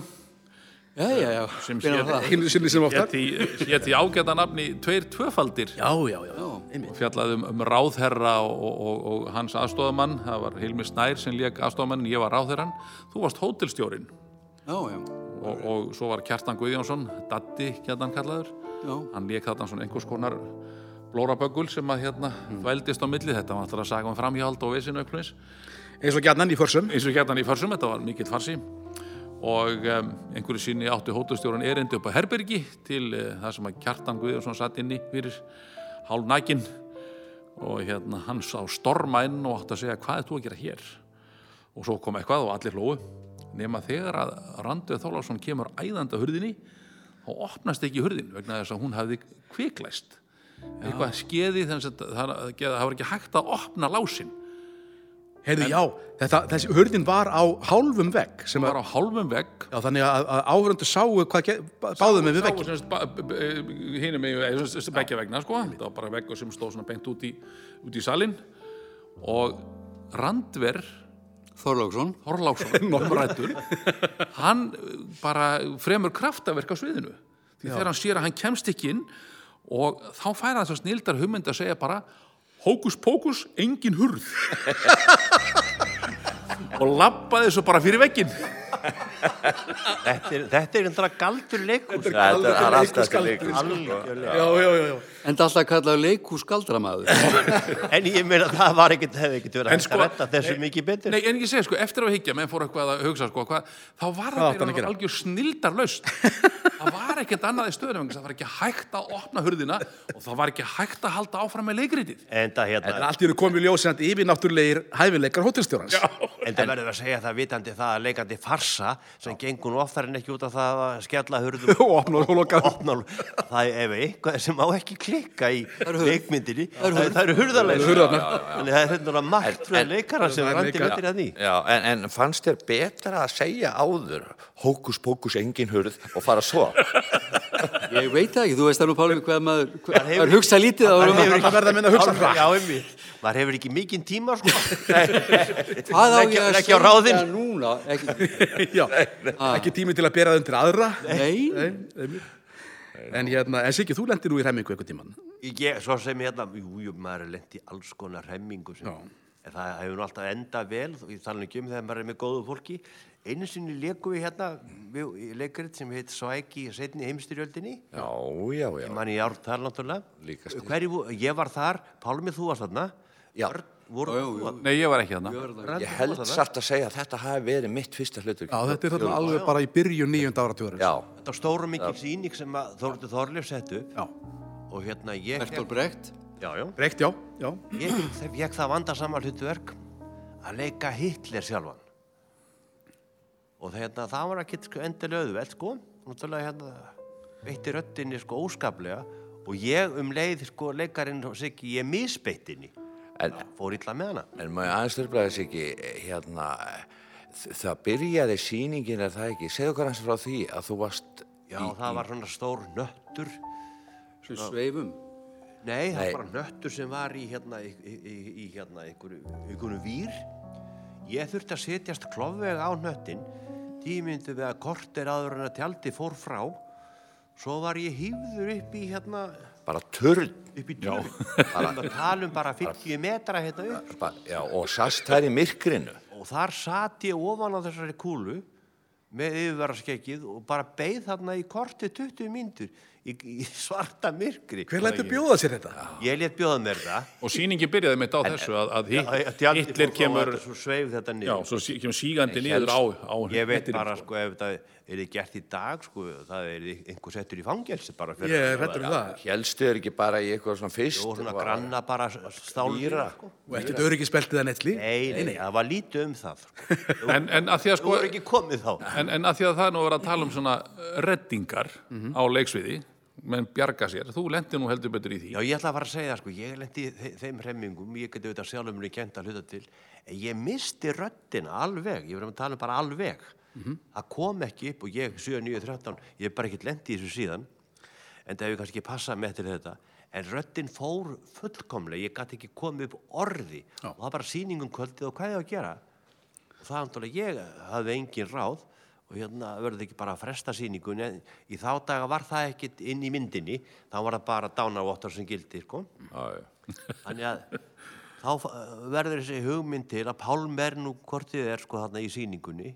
[SPEAKER 4] já, já, já.
[SPEAKER 5] sem
[SPEAKER 4] Hvenær var
[SPEAKER 5] hét-
[SPEAKER 1] Einu sinni sem oftar.
[SPEAKER 5] hét í- hét í ágæta nafni Tveir Tvöfaldir.
[SPEAKER 1] Já, já, já.
[SPEAKER 5] og fjallaði um, um ráðherra og, og, og, og hans aðstofamann það var Hilmi Snær sem lék aðstofamann ég var ráðherran, þú varst hótelstjórin
[SPEAKER 4] Já, já,
[SPEAKER 5] og, og svo var Kjartan Guðjónsson Daddi Kjartan kallaður
[SPEAKER 4] já.
[SPEAKER 5] hann lék þarna svona einhvers konar blóraböggul sem að hérna þvældist á milli þetta var alltaf að saga um framhjáld og vesinu auklunis
[SPEAKER 1] Eins og gjarnan í försum.
[SPEAKER 5] eins og Kjartan í farsum, þetta var mikill farsi og um, einhverju sinni átti hótelstjóran erindi upp á herbergi til uh, það sem að Kjartan Guðjónsson satt inni fyrir hálfnækin og hérna hann sá storma inn og átti að segja hvað er þú að gera hér og svo kom eitthvað og allir hlóu nema þegar að Randveð Þólafsson kemur æðandi að hurðinni þá opnast ekki hurðin vegna þess að hún hafði kviklæst eitthvað skeði þannig að það, það, það var ekki hægt að opna lásin
[SPEAKER 1] Heyrðu, já, þetta, þessi hurðin var á hálfum vegg sem
[SPEAKER 5] það
[SPEAKER 1] að,
[SPEAKER 5] var á hálfum vegg
[SPEAKER 1] já, þannig að, að áhverjandu sáu hvað ge- bá- báðu með við vegg.
[SPEAKER 5] veggi eh, hinum með veggja vegna sko það var bara veggur sem stóð svona beint út í, út í salin og Randver
[SPEAKER 4] Þorlóksson.
[SPEAKER 5] Þorláksson umrættur hann eh, bara fremur kraftaverk á sviðinu því þegar hann sér að hann kemst ekki inn og þá færa þess að snildar hugmynd að segja bara hókus pókus, engin hurð og labbaði svo bara fyrir veggin
[SPEAKER 3] Þetta er, þetta er einhverja galdur leikur.
[SPEAKER 2] Já, Þetta er- það er alltaf til leikur.
[SPEAKER 3] Algjörlega.
[SPEAKER 1] Já, já, já, já.
[SPEAKER 4] En það alltaf kallaði leikhús galdramaður.
[SPEAKER 3] En ég meina það var ekkert, hefði ekkert verið
[SPEAKER 5] En
[SPEAKER 3] hægt
[SPEAKER 5] sko-
[SPEAKER 3] að retta þessu mikið betur.
[SPEAKER 5] Nei, en ég segi sko, eftir að higgja, menn fór eitthvað að hugsa sko, hvað, þá var það
[SPEAKER 1] átti hann að
[SPEAKER 5] bara
[SPEAKER 1] gera?
[SPEAKER 5] algjör snildarlaust. það var ekkert annað í stöðunum, vegna þess að það var ekki hægt að opna hurðina og það var ekki hægt að halda áfram með leikritið.
[SPEAKER 3] En það hérna,
[SPEAKER 1] En allt í eru komið ljósið hann yfirnáttúrulegir hæfileikar hótelstjórans. Já.
[SPEAKER 3] En það verður að segja það vitandi það að leikandi farsa sem gengur nú oftar en ekki út af það að skella hurðum
[SPEAKER 1] Og opna og loka.
[SPEAKER 3] opna og- það er ef eitthvað sem má ekki klikka í
[SPEAKER 4] eru hurð.
[SPEAKER 3] leikmyndinni það það eru hurðarleysur þannig að það er hérna margtröð leikara sem
[SPEAKER 1] það er
[SPEAKER 3] randi
[SPEAKER 1] leikara.
[SPEAKER 3] myndir að því
[SPEAKER 2] Já, en, en fannst þér betra að segja áður hókus pókus engin hurð og fara svo?
[SPEAKER 4] Ég veit það ekki, þú veist það nú Pálmi hvað maður, hvað,
[SPEAKER 3] hefur-
[SPEAKER 4] maður hugsa lítið á
[SPEAKER 3] Maður hefur
[SPEAKER 4] rúma.
[SPEAKER 1] Það
[SPEAKER 3] ekki-
[SPEAKER 1] verða að minna að hugsa
[SPEAKER 3] Alveg,
[SPEAKER 1] hratt.
[SPEAKER 3] já, einmitt. maður hefur ekki mikinn tíma sko
[SPEAKER 4] Hvað á ég
[SPEAKER 3] leggja-
[SPEAKER 4] að
[SPEAKER 3] leggja á ráðin.
[SPEAKER 4] segja núna? Ekki,
[SPEAKER 1] Já, ekki tími til að bera það undir aðra.
[SPEAKER 4] nei,
[SPEAKER 1] Nei, einmitt. En hérna, en Siggi, þú lendir nú í remmingu einhvern tíman.
[SPEAKER 3] ég, svo sem hérna, jú, jú, maður er lent í alls konar hemmingu sem,
[SPEAKER 1] Já.
[SPEAKER 3] en það hefur nú alltaf endað vel og ég tala nú ekki um þegar maður er með góðu fólki einu sinni leikum við hérna við, í leikrit sem heit Svæki í setni heimstyrjöldinni
[SPEAKER 2] Já, já, já.
[SPEAKER 3] ég manni í ártal náttúrulega
[SPEAKER 2] Líka stíl.
[SPEAKER 3] Hverju, ég var þar, Pálmi þú varst þarna
[SPEAKER 2] Já.
[SPEAKER 3] Örn, voru
[SPEAKER 4] Jú, jú,
[SPEAKER 3] þú þarna?
[SPEAKER 5] Nei, ég var ekki þarna.
[SPEAKER 3] Örn,
[SPEAKER 2] Ég
[SPEAKER 3] þú
[SPEAKER 2] held
[SPEAKER 3] varst þarna?
[SPEAKER 2] satt að segja að þetta hafi verið mitt fyrsta hlutur.
[SPEAKER 1] Já, þetta er þarna alveg bara í byrjun nýjönda áratúrins.
[SPEAKER 2] Já,
[SPEAKER 3] Þetta var stóra mikil sýning sem að Þóruldur Þorleif settu
[SPEAKER 1] Já.
[SPEAKER 3] og hérna ég
[SPEAKER 4] Bertolt Brecht.
[SPEAKER 3] já, já.
[SPEAKER 1] Reykt, já, já.
[SPEAKER 3] ég fékk- fékk það vanda saman hlutverk að leika Hitler sjálfan og hérna, það var ekki sko, endilega auðvelt sko náttúrulega hérna beitti röddinni sko óskaplega og ég um leið sko leikarinn og Siggi ég misbeittinni
[SPEAKER 2] en,
[SPEAKER 3] fór illa með hana
[SPEAKER 2] en maður aðeins þurflaði þess ekki, hérna, þ- það byrjaði sýningin er það ekki. Segðu okkar hans frá því að þú varst
[SPEAKER 3] já það var svona stór nöttur
[SPEAKER 4] Svona sveifum.
[SPEAKER 3] Nei, það
[SPEAKER 2] Nei.
[SPEAKER 3] var bara nöttur sem var í hérna, í, í, í- í hérna, einhverju, einhverju vír. Ég þurfti að setjast klofvega á nöttin, tímyndu við að kort er aður en að tjaldi fór frá, svo var ég hýfður upp í hérna,
[SPEAKER 2] bara törn.
[SPEAKER 3] upp í tjörn. Þannig að tala um bara 50 metra hérna upp.
[SPEAKER 2] Bara, já, og sast þær í myrkrinu.
[SPEAKER 3] Og þar sat ég ofan á þessari kúlu með yfirverðarskekkið og bara beið þarna í korti 20 mínútur. í, í svarta myrkri
[SPEAKER 1] Hver lætur bjóða sér þetta?
[SPEAKER 3] Ég létt bjóða mér það
[SPEAKER 5] og sýningi byrjaði mitt á þessu að,
[SPEAKER 3] Já,
[SPEAKER 5] að
[SPEAKER 3] já,
[SPEAKER 5] hitt,
[SPEAKER 3] djaldi fór
[SPEAKER 5] hitlir
[SPEAKER 3] þá
[SPEAKER 5] kemur
[SPEAKER 3] að þetta Svo sveif þetta
[SPEAKER 5] já,
[SPEAKER 3] niður
[SPEAKER 5] svo sí- kemur sígandi niður á, á
[SPEAKER 3] Ég veit
[SPEAKER 5] hnettinum,
[SPEAKER 3] bara
[SPEAKER 5] sko.
[SPEAKER 3] sko ef þetta er gert í dag sko það er einhver settur í fangelsi bara fyrir
[SPEAKER 1] Ég er
[SPEAKER 3] að gera
[SPEAKER 1] hræddur um það.
[SPEAKER 2] Hélstu þér ekki bara í eitthvað svona fyrst?
[SPEAKER 3] og svona
[SPEAKER 2] Var-
[SPEAKER 3] granna bara stálvíra sko.
[SPEAKER 1] Og ekkert öryggisbeltið að netli.
[SPEAKER 3] nei, nei, það var lítið um það sko.
[SPEAKER 5] en, en að því
[SPEAKER 3] þú
[SPEAKER 5] að sko
[SPEAKER 3] er ekki komið þá
[SPEAKER 5] en, en að því að það er nú að vera að tala um svona eh, reddingar
[SPEAKER 1] Mhm.
[SPEAKER 5] á leiksviði menn bjarga sér, þú lendi nú heldur betur í því
[SPEAKER 3] já, ég ætla að fara að segja það sko, ég lendi í þe- þeim hremmingum, ég geti auðvitað sjálfum mér kent að hluta til, en ég misti röddina alveg, ég verðum að tala um bara alveg það kom ekki upp og ég 7, 9, 13, ég hef bara ekkert lendi í þessu síðan en það hefur kannski passað með til þetta en röddin fór fullkomlega, ég gæti ekki komið upp orði og það var bara sýningum kvöldið og hvað ég á að gera og það andalega ég hafði engin ráð og hérna verði ekki bara að fresta sýningunni en í þá daga var það ekkit inn í myndinni þá var það bara dánavottar sem gildi sko. þannig að þá fa- verður þessi hugmynd til að Pálm er nú hvort þið er sko þarna í sýningunni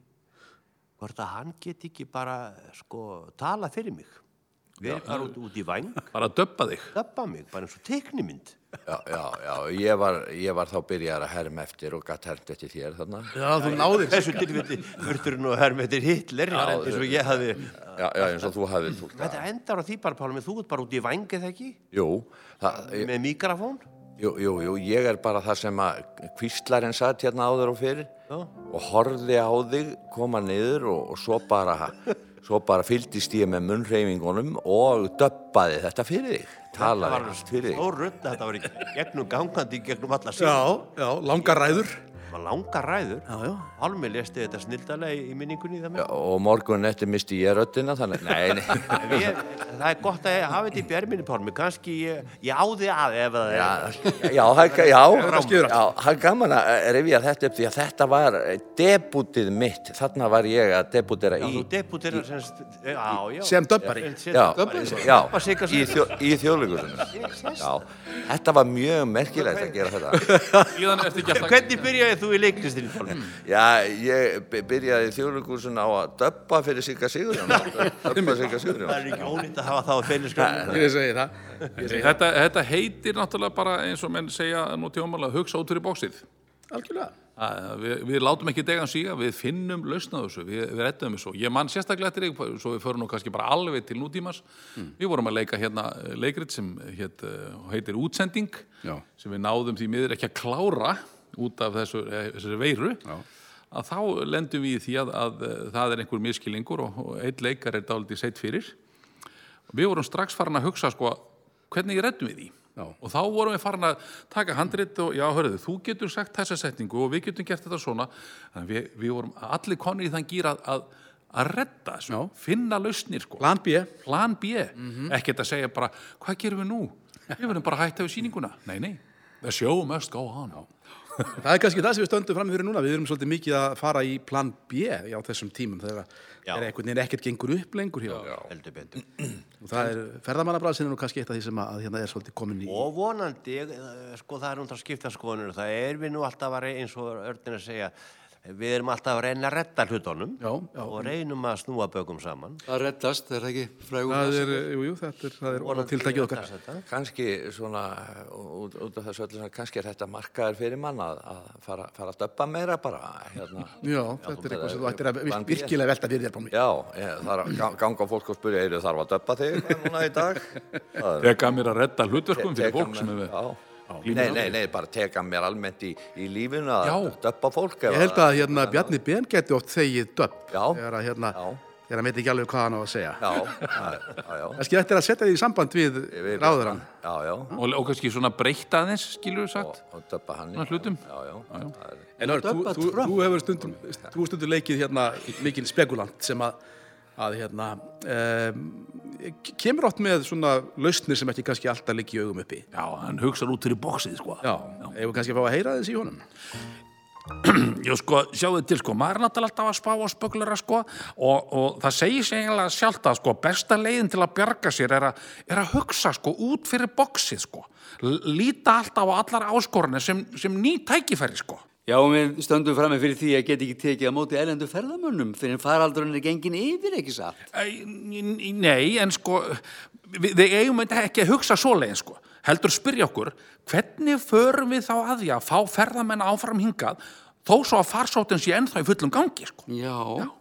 [SPEAKER 3] hvort að hann geti ekki bara sko tala fyrir mig verið bara út, út í væng
[SPEAKER 5] bara að döbba þig
[SPEAKER 3] döppa mig, bara eins og teiknimynd
[SPEAKER 2] Já, já, já, ég var, ég var þá byrjar að herma eftir og gatt hermt eftir þér þarna.
[SPEAKER 1] Já, þú náðir.
[SPEAKER 3] þessu tilfelli vörður nú hermetir Hitler eins og ég hafði
[SPEAKER 2] Já, já, eins og þú hafið
[SPEAKER 3] Þetta
[SPEAKER 2] tólkað.
[SPEAKER 3] endar á því bara, Pálmi, þú ert bara út í vængið ekki?
[SPEAKER 2] Jú, það,
[SPEAKER 3] Með mikrofón?
[SPEAKER 2] jú, jú, jú, ég er bara það sem að kvistlarinn satt hérna áður og fyrir
[SPEAKER 3] Já.
[SPEAKER 2] og horfði á þig, koma niður og, og svo bara, svo bara fylgdist ég með munnreifingunum og döbbaði þetta fyrir þig, talaði allt fyrir þig.
[SPEAKER 3] stór rödd, þetta var í gegnum gangandi, í gegnum alla
[SPEAKER 1] Já,
[SPEAKER 3] síðan.
[SPEAKER 1] já, langar ræður.
[SPEAKER 3] Það var langar ræður.
[SPEAKER 1] Já, já.
[SPEAKER 3] Pálmi lesti þetta snildalega í- í minningunni í það með.
[SPEAKER 2] Og morgun eftir misti ég röddina, þannig, nei, nei,
[SPEAKER 3] En Ég, það er gott að ég hafi þetta í björminni, Pálmi, kannski ég, ég áði að ef það er.
[SPEAKER 2] Já, já, það er- já,
[SPEAKER 1] þetta skýrir allt.
[SPEAKER 2] já, það er gaman að revja þetta upp því að þetta var debutið mitt, þarna var ég að debutera
[SPEAKER 3] Já,
[SPEAKER 2] í
[SPEAKER 3] þú deputerar sem, st- já, já.
[SPEAKER 1] Sem döbbari.
[SPEAKER 2] Já, já,
[SPEAKER 3] Döppa sig
[SPEAKER 2] í, þjó, í þjóðleikursunum Já, þetta var mjög merkilegt að gera þetta
[SPEAKER 5] síðan ertu ekki alltaf
[SPEAKER 3] Hvernig byrjaði þú í leiklistinni, Pálmi?
[SPEAKER 2] Já, ég by- byrjaði þjóðleikursun á að döbba fyrir Sigga Sigurjón Döbba Sigga
[SPEAKER 3] Það
[SPEAKER 2] Sigurjón
[SPEAKER 3] er ekki ónýtt að hafa það á feiliskanum.
[SPEAKER 1] Ég segi það. Ég segi það.
[SPEAKER 5] þetta, þetta heitir náttúrulega bara eins og menn segja nú tjómála, hugsa út fyrir bóksið
[SPEAKER 1] Algjörlega.
[SPEAKER 5] Að Við, við látum ekki degan síga, við finnum lausnaðu þessu, við, við rettum þessu. Ég man sérstaklega eftir því, svo við förum nú kannski bara alveg til nútímas.
[SPEAKER 1] Mm.
[SPEAKER 5] Við vorum að leika hérna eh, leikrit sem hét, eh, heitir Útsending,
[SPEAKER 1] Já.
[SPEAKER 5] sem við náðum því miður ekki að klára út af þessu, eh, þessari veiru.
[SPEAKER 1] Já.
[SPEAKER 5] Að þá lendum við í því að, að eh, það er einhver miskilingur og, og einn leikar er dálítið seitt fyrir. Við vorum strax farin að hugsa sko, hvernig reddum við því?
[SPEAKER 1] Já.
[SPEAKER 5] Og þá vorum við farin að taka handrit og já, hörðu, þú getur sagt þessa setningu og við getum gert þetta svona. Þannig við, við vorum allir konir í þann gýr að, að, að redda þessu,
[SPEAKER 1] Já.
[SPEAKER 5] finna lausnir sko.
[SPEAKER 1] Plan B. Mhm.
[SPEAKER 5] Plan B. Ekkert að segja bara, hvað gerum við nú? Við verðum bara að hætta við sýninguna. Nei, nei, the show must go on. Já.
[SPEAKER 1] Það er kannski það sem við stöndum fram fyrir núna. Við erum svolítið mikið að fara í plan B á þessum tímum þegar það er einhvern veginn ekkert gengur upp lengur hjá. Já.
[SPEAKER 3] Heldur betur.
[SPEAKER 1] Og það er ferðamannabrasin og kannski eitt af því sem að, að hérna er svolítið komin í.
[SPEAKER 3] og vonandi, eh, sko það er um það að skipta skoðunir, það er við nú alltaf að reyna, eins og örnir að segja, við erum alltaf að reyna að retta hlutunum
[SPEAKER 1] Já, já.
[SPEAKER 3] og reynum að snúa bökum saman.
[SPEAKER 4] Það reddast, það er það ekki frægur
[SPEAKER 1] Það er, jú, jú, þetta er, það er orðað tiltækið okkar.
[SPEAKER 3] Þetta.
[SPEAKER 2] Kanski svona, út, út af þessu öllu svona, kannski er þetta markaður fyrir mann að, að fara, fara að döbba meira bara hérna.
[SPEAKER 1] Já, þetta er eitthvað sem þú ættir að vir-
[SPEAKER 2] Plan B.
[SPEAKER 1] virkilega velta fyrir þér pálmi.
[SPEAKER 2] Já, ég, það er að gang- ganga á fólk og spyrja, eru þarf að döppa þig núna í dag? Það er-
[SPEAKER 5] Teka mér að redda hlutverkum fyrir
[SPEAKER 2] Teka
[SPEAKER 5] fólk sem
[SPEAKER 2] mér-
[SPEAKER 5] við...
[SPEAKER 2] Já.
[SPEAKER 5] glímir
[SPEAKER 2] Nei,
[SPEAKER 5] við.
[SPEAKER 2] nei, nei, bara teka mér almennt í, í lífinu að
[SPEAKER 5] Já.
[SPEAKER 2] döppa fólk.
[SPEAKER 1] Ég held að hérna Bjarni Ben geti oft þegið döpp.
[SPEAKER 2] Já.
[SPEAKER 1] Þegar að hérna,
[SPEAKER 2] Já.
[SPEAKER 1] þegar hann veit ekki alveg hvað hann á að segja.
[SPEAKER 2] Já, já, já, já.
[SPEAKER 1] Kannski þetta er að setja því í samband við
[SPEAKER 2] Ég veit
[SPEAKER 1] ráður hann.
[SPEAKER 2] Já, já,
[SPEAKER 5] Og, og kannski svona breyta aðeins, skilur við sagt.
[SPEAKER 2] og döppa hann. í-
[SPEAKER 5] Svona hlutum.
[SPEAKER 2] Já, já, það er-
[SPEAKER 1] En Hörð, þú, þú, þú hefur stundum, þú hefur stundum leikið hérna mikinn spekulant sem að, að hérna, um, kemur átt með svona lausnir sem ekki kannski alltaf liggi í augum uppi.
[SPEAKER 5] Já, hann hugsar út fyrir bóksið, sko.
[SPEAKER 1] Já, ef við kannski að fá að heyra þess í honum.
[SPEAKER 5] Jú, sko, sjáðu til, sko, maður er náttúrulega alltaf að spá og spöglera, sko, og, og það segir sig eiginlega sjálft að, sko, besta leiðin til að bjarga sér er, að, er að hugsa, sko, út fyrir boxið, sko, L- líta alltaf á allar áskorunni sem, sem ný tækifæri, sko.
[SPEAKER 4] Já, og við stöndum frammi fyrir því að geta ekki tekið á móti erlendu ferðamönnum fyrir en faraldurinn er gengin yfir, ekki satt?
[SPEAKER 5] Æ, n- n- Nei, en sko, við, við eigum ekki að hugsa svoleiðin sko heldur spyrja okkur hvernig förum við þá að því að fá ferðamenn áfram hingað þó svo að farsóttin sé ennþá í fullum gangi sko.
[SPEAKER 4] Já,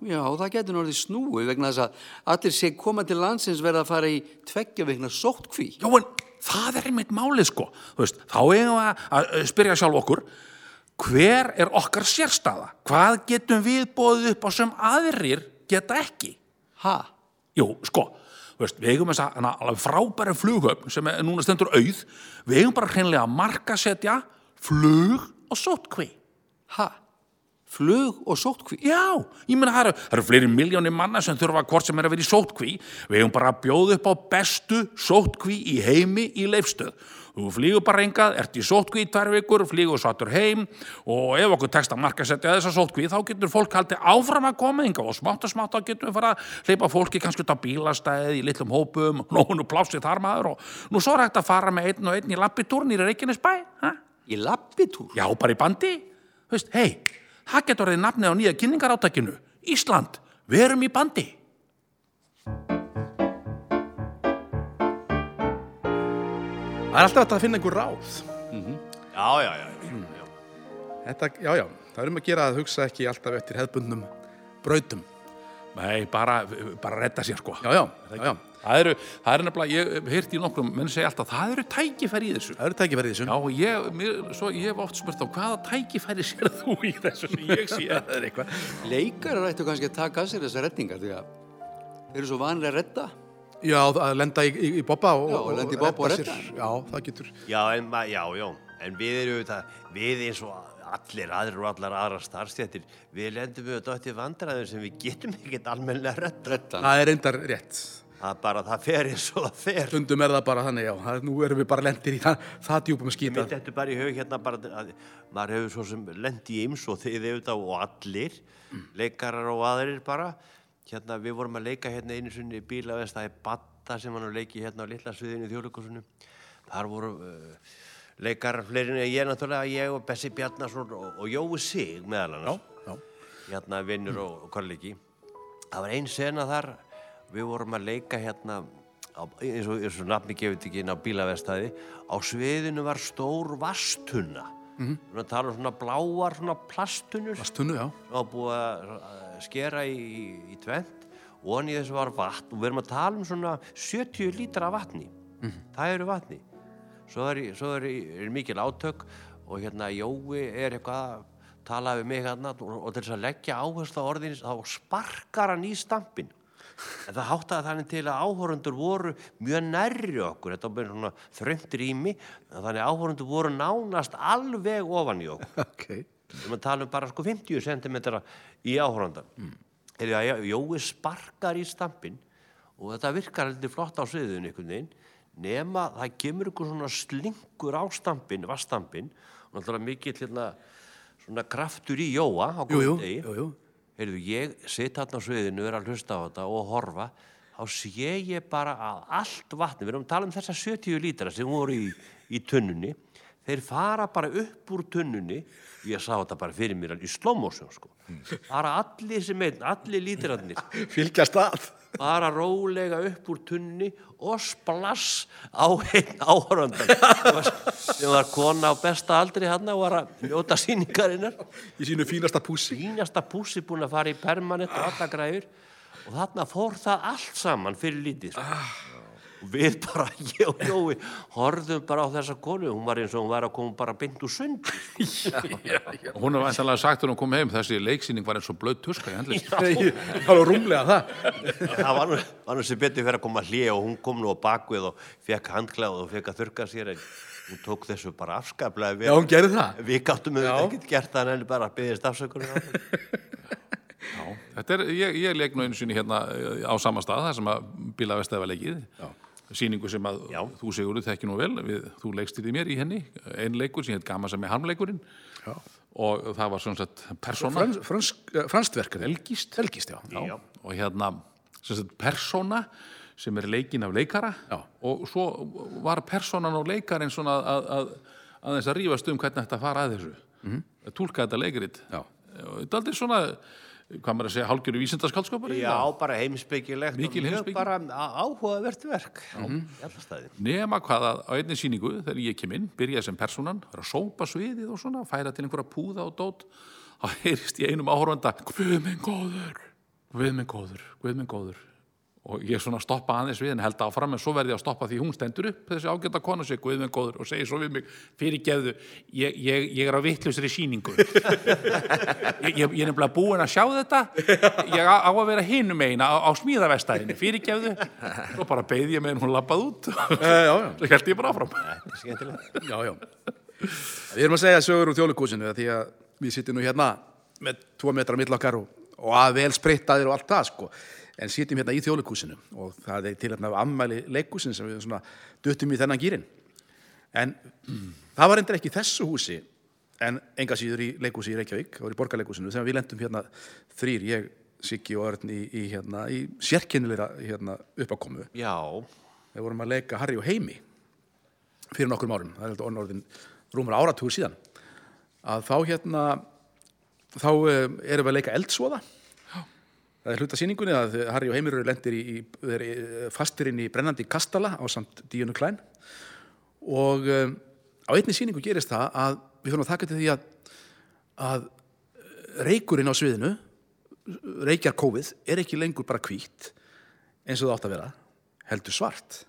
[SPEAKER 4] já, það getur orðið snúið vegna þess að allir sem koma til landsins verða að fara í tveggja veikna sóttkví.
[SPEAKER 5] Jó, en það er einmitt málið sko Þú veist, þá eigum við að- að spyrja sjálf okkur hver er okkar sérstaða hvað getum við bóðið upp á sem aðrir geta ekki
[SPEAKER 4] Ha?
[SPEAKER 5] Jú, sko, þú veist, við eigum þessa hana, alveg frábæri flughöfn sem er núna stendur auð, við eigum bara hreinlega að markasetja flug og sótkví.
[SPEAKER 4] Ha? Flug og sóttkví?
[SPEAKER 5] Já, ég meina það eru, það eru fleiri miljónir manna sem þurfa hvort sem er að vera í sótkví. Við eigum bara að bjóða upp á bestu sótkví í heimi í leifstöð. Þú flýgur bara engað, ert í sótkví í tvær vikur, flýgur sattur heim og ef okkur tekst að markasetja þessa sótkví þá getur fólk haldið áfram að koma engað og smátt og smátt þá getum við fara að hleypa fólki kannski út á bílastæði í litlum hópum, nónu plásið þar maður og nú svo er hægt að fara með einn og einn í lappitúrnir í Reykjanesbæ, hæ?
[SPEAKER 4] Í lappitúr?
[SPEAKER 5] Já, bara í bandi. Þú veist, hei, það getur orðið nafnið á nýja kynningaráttakinu. Ísland, við erum í bandi.
[SPEAKER 1] Það er alltaf hægt að finna einhver ráð.
[SPEAKER 3] Já, já, já.
[SPEAKER 1] Þetta, já, já, það er um að gera að hugsa ekki alltaf eftir hefðbundnum brautum.
[SPEAKER 5] Nei, bara, bara redda sér, sko.
[SPEAKER 1] Já, já, já, já.
[SPEAKER 5] Það eru, það eru nefnilega, ég hef heyrt í nokkrum, menn segja alltaf, það eru tækifæri í þessu.
[SPEAKER 1] Það eru tækifærið þessu.
[SPEAKER 5] Já, og ég, mér, svo, ég hef oft spurt á hvaða tækifæri sér þú í þessu sem ég sé. það er eitthvað.
[SPEAKER 4] Leikarar ættu kannski að taka að sér þessar reddingar því að þeir eru svo vanir að redda.
[SPEAKER 1] Já, að lenda í, í, í bobba og,
[SPEAKER 4] Já, lenda í bobba og
[SPEAKER 1] redda
[SPEAKER 4] redda.
[SPEAKER 1] sér. Já, það getur.
[SPEAKER 3] Já, en, ma- já, já. En við erum auðvitað, við eins og allir aðrir og allar aðra starfstjættir, við lendum auðvitað eftir vandræðum sem við getum ekkert almennilega rödd.
[SPEAKER 4] Reddan.
[SPEAKER 1] Það er reyndar rétt.
[SPEAKER 3] Það er bara, það fer eins og það fer.
[SPEAKER 1] Stundum er það bara þannig, já. Það, nú erum við bara lendir í það, það djúpum að skýta.
[SPEAKER 3] Mér þetta bara í hug hérna bara að maður hefur svo sem lendi í eins og þið auðvitað og allir, leikarar og aðrir bara. Hérna, við vorum að leika hérna einu sinni í bíla veist það er Batta sem hann leiki hérna á litla sviðinu í þjóðleikursunum. Þar voru uh, leikarar fleiri en ég náttúrulega, ég og Bessi Bjarnason og, og Jói Sig meðal annars. Já, já. Hérna vinnur og, og kollegi. Það var ein sena þar, við vorum að leika hérna, á, eins, og, eins og nafni gefið þetta ekki inn á bílavestæði, á sviðinu var stór vastunna. Mm -hmm. Það tala um svona bláar svona plastunur
[SPEAKER 1] Stundu, já.
[SPEAKER 3] sem var búið að að skera í, í tvent og hann í þessu var vatn og við erum að tala um svona 70 lítra af vatni það eru vatni svo er, svo er, er mikil átök og hérna Jói er eitthvað að tala við mig hann og, og til þess að leggja áherslu á orðin þá sparkar hann í stampin en það háttaði þannig til að áhorundur voru mjög nærri okkur þetta var bara svona þröngt rými þannig að áhorundur voru nánast alveg ofan í okkur
[SPEAKER 1] Ok.
[SPEAKER 3] við erum að tala um bara sko 50 cm í áhórandan mm. Jói sparkar í stampin og þetta virkar heldur flott á sviðinu einhvern veginn nema það kemur einhver svona slingur á stampin, vastampin og náttúrulega mikill hérna, svona kraftur í Jóa á
[SPEAKER 1] Jú, jú,
[SPEAKER 3] góðum degi.
[SPEAKER 1] jú, jú.
[SPEAKER 3] Heyrðu, ég sit hann á sviðinu, er að hlusta á þetta og horfa, þá sé ég bara að allt vatni, við erum að tala um þessa 70 lítra sem voru í, í tunnunni, þeir fara bara upp úr tunnunni, ég sá þetta bara fyrir mér í slómósjón, sko. Bara allir sem einn, allir lítrarnir,
[SPEAKER 1] Fylgjast að.
[SPEAKER 3] bara rólega upp úr tunnunni og splass á einn áhöröndan. sem var- sem var kona á besta aldri hann og var að njóta síningarinnar
[SPEAKER 1] Í sínu fínasta púsi.
[SPEAKER 3] fínasta pússi búin að fara í permanent og alla græður og þarna fór það allt saman fyrir lítið sko. og við bara, ég og Jói horfðum bara á þessa konu hún var eins og hún var að koma bara beint úr sko. sund
[SPEAKER 5] Hún hefur vantanlega sagt þegar hún kom heim, þessi leiksýning var eins og blöð tuska í handlis.
[SPEAKER 1] Það er rúmlega það.
[SPEAKER 3] það var nú, var nú sem betur fyrir að koma hlið og hún kom nú á bakvið og fekk handklæð og fekk að þurka sér en hún tók þessu bara afskaplega
[SPEAKER 1] Já, hún gerði það.
[SPEAKER 3] við gáttum auðvitað ekkert gert það en henni bara byggðist afsökunum á það
[SPEAKER 5] Þetta er, ég, ég leik nú einu sinni hérna eh, á sama stað, það sem að bílavestæði var leikið. Já. Sýningu sem að
[SPEAKER 3] Já.
[SPEAKER 5] þú segurðu þekki nú vel, við, þú leikstýrði mér í henni, einn leikur sem heit Gama sem er harmleikurinn. Já. Og það var svona sett persóna,
[SPEAKER 1] Frans, fransk, eh, franskt verkefni.
[SPEAKER 5] belgist,
[SPEAKER 1] Helgist, já.
[SPEAKER 5] já. og hérna sem sagt persóna sem er leikinn af leikara
[SPEAKER 1] Já.
[SPEAKER 5] og svo var persónan og leikarinn svona að, að, að, aðeins að rífast um hvernig þetta fara að þessu mm -hmm. túlka þetta leikrit
[SPEAKER 1] Mhm. Já.
[SPEAKER 5] og þetta er aldrei svona hvað maður að segja, hálgjöru vísindaskaldskapur
[SPEAKER 3] Já, bara heimsbyggilegt
[SPEAKER 5] Mikil
[SPEAKER 3] og mjög
[SPEAKER 5] heimspeki.
[SPEAKER 3] bara á- áhugavert verk mm
[SPEAKER 1] Mhm.
[SPEAKER 3] -hmm. á alla staði.
[SPEAKER 5] nema hvað að á einni síningu þegar ég kem inn, byrjaði sem persónan er að sópa sviðið og svona, færa til einhverja púða og dót, þá heyrist í einum áhorfanda Guð minn góður Guð minn góður, Guð minn góður og ég svona stoppa aðeins við en held áfram en svo verði ég að stoppa því hún stendur upp þessi ágæta kona sig Guð minn góður og segir svo við mig fyrirgefðu, ég, ég, ég er á vittlusri síningu ég, ég, ég er nefnilega búinn að sjá þetta ég á, á að vera hinum eina á, á smíðavestæðinni, fyrirgefðu svo bara beigði ég meðan hún lappað út
[SPEAKER 1] Eh, já, já.
[SPEAKER 5] svo held ég bara áfram
[SPEAKER 1] Já, já. Við erum að segja sögur úr þjóðleikúsinu því að við sittum nú hérna með tvo metra mill okkar og, og að vel sprittaðir og allt það sko. En sittum hérna í þjóðleikúsinu og það er til hérna af ammæli leikúsin sem við svona duttum í þennan gýrin. En það var endur ekki í þessu húsi en enga síður í leikúsi í Reykjavík og í borgarleikúsinu sem við lendum hérna þrýr, ég, Siggi og Örn í, í, hérna, í sérkennilega hérna, uppakomu.
[SPEAKER 3] Já,
[SPEAKER 1] Við vorum að leika Harry og Heimi fyrir nokkrum árum, það er heldur orðin rúmur áratugur síðan að þá hérna þá um, erum við að leika eldsvoða það er hluta sýningunni að Harry og Heimir eru lendir í, í, þeir eru fastir inn í brennandi kastala á samt Díunu Klæn og um, á einni sýningu gerist það að við fyrir að taka til því að, að eh, reykurinn á sviðinu reykjar kófið er ekki lengur bara hvítt eins og það átt að vera heldur svart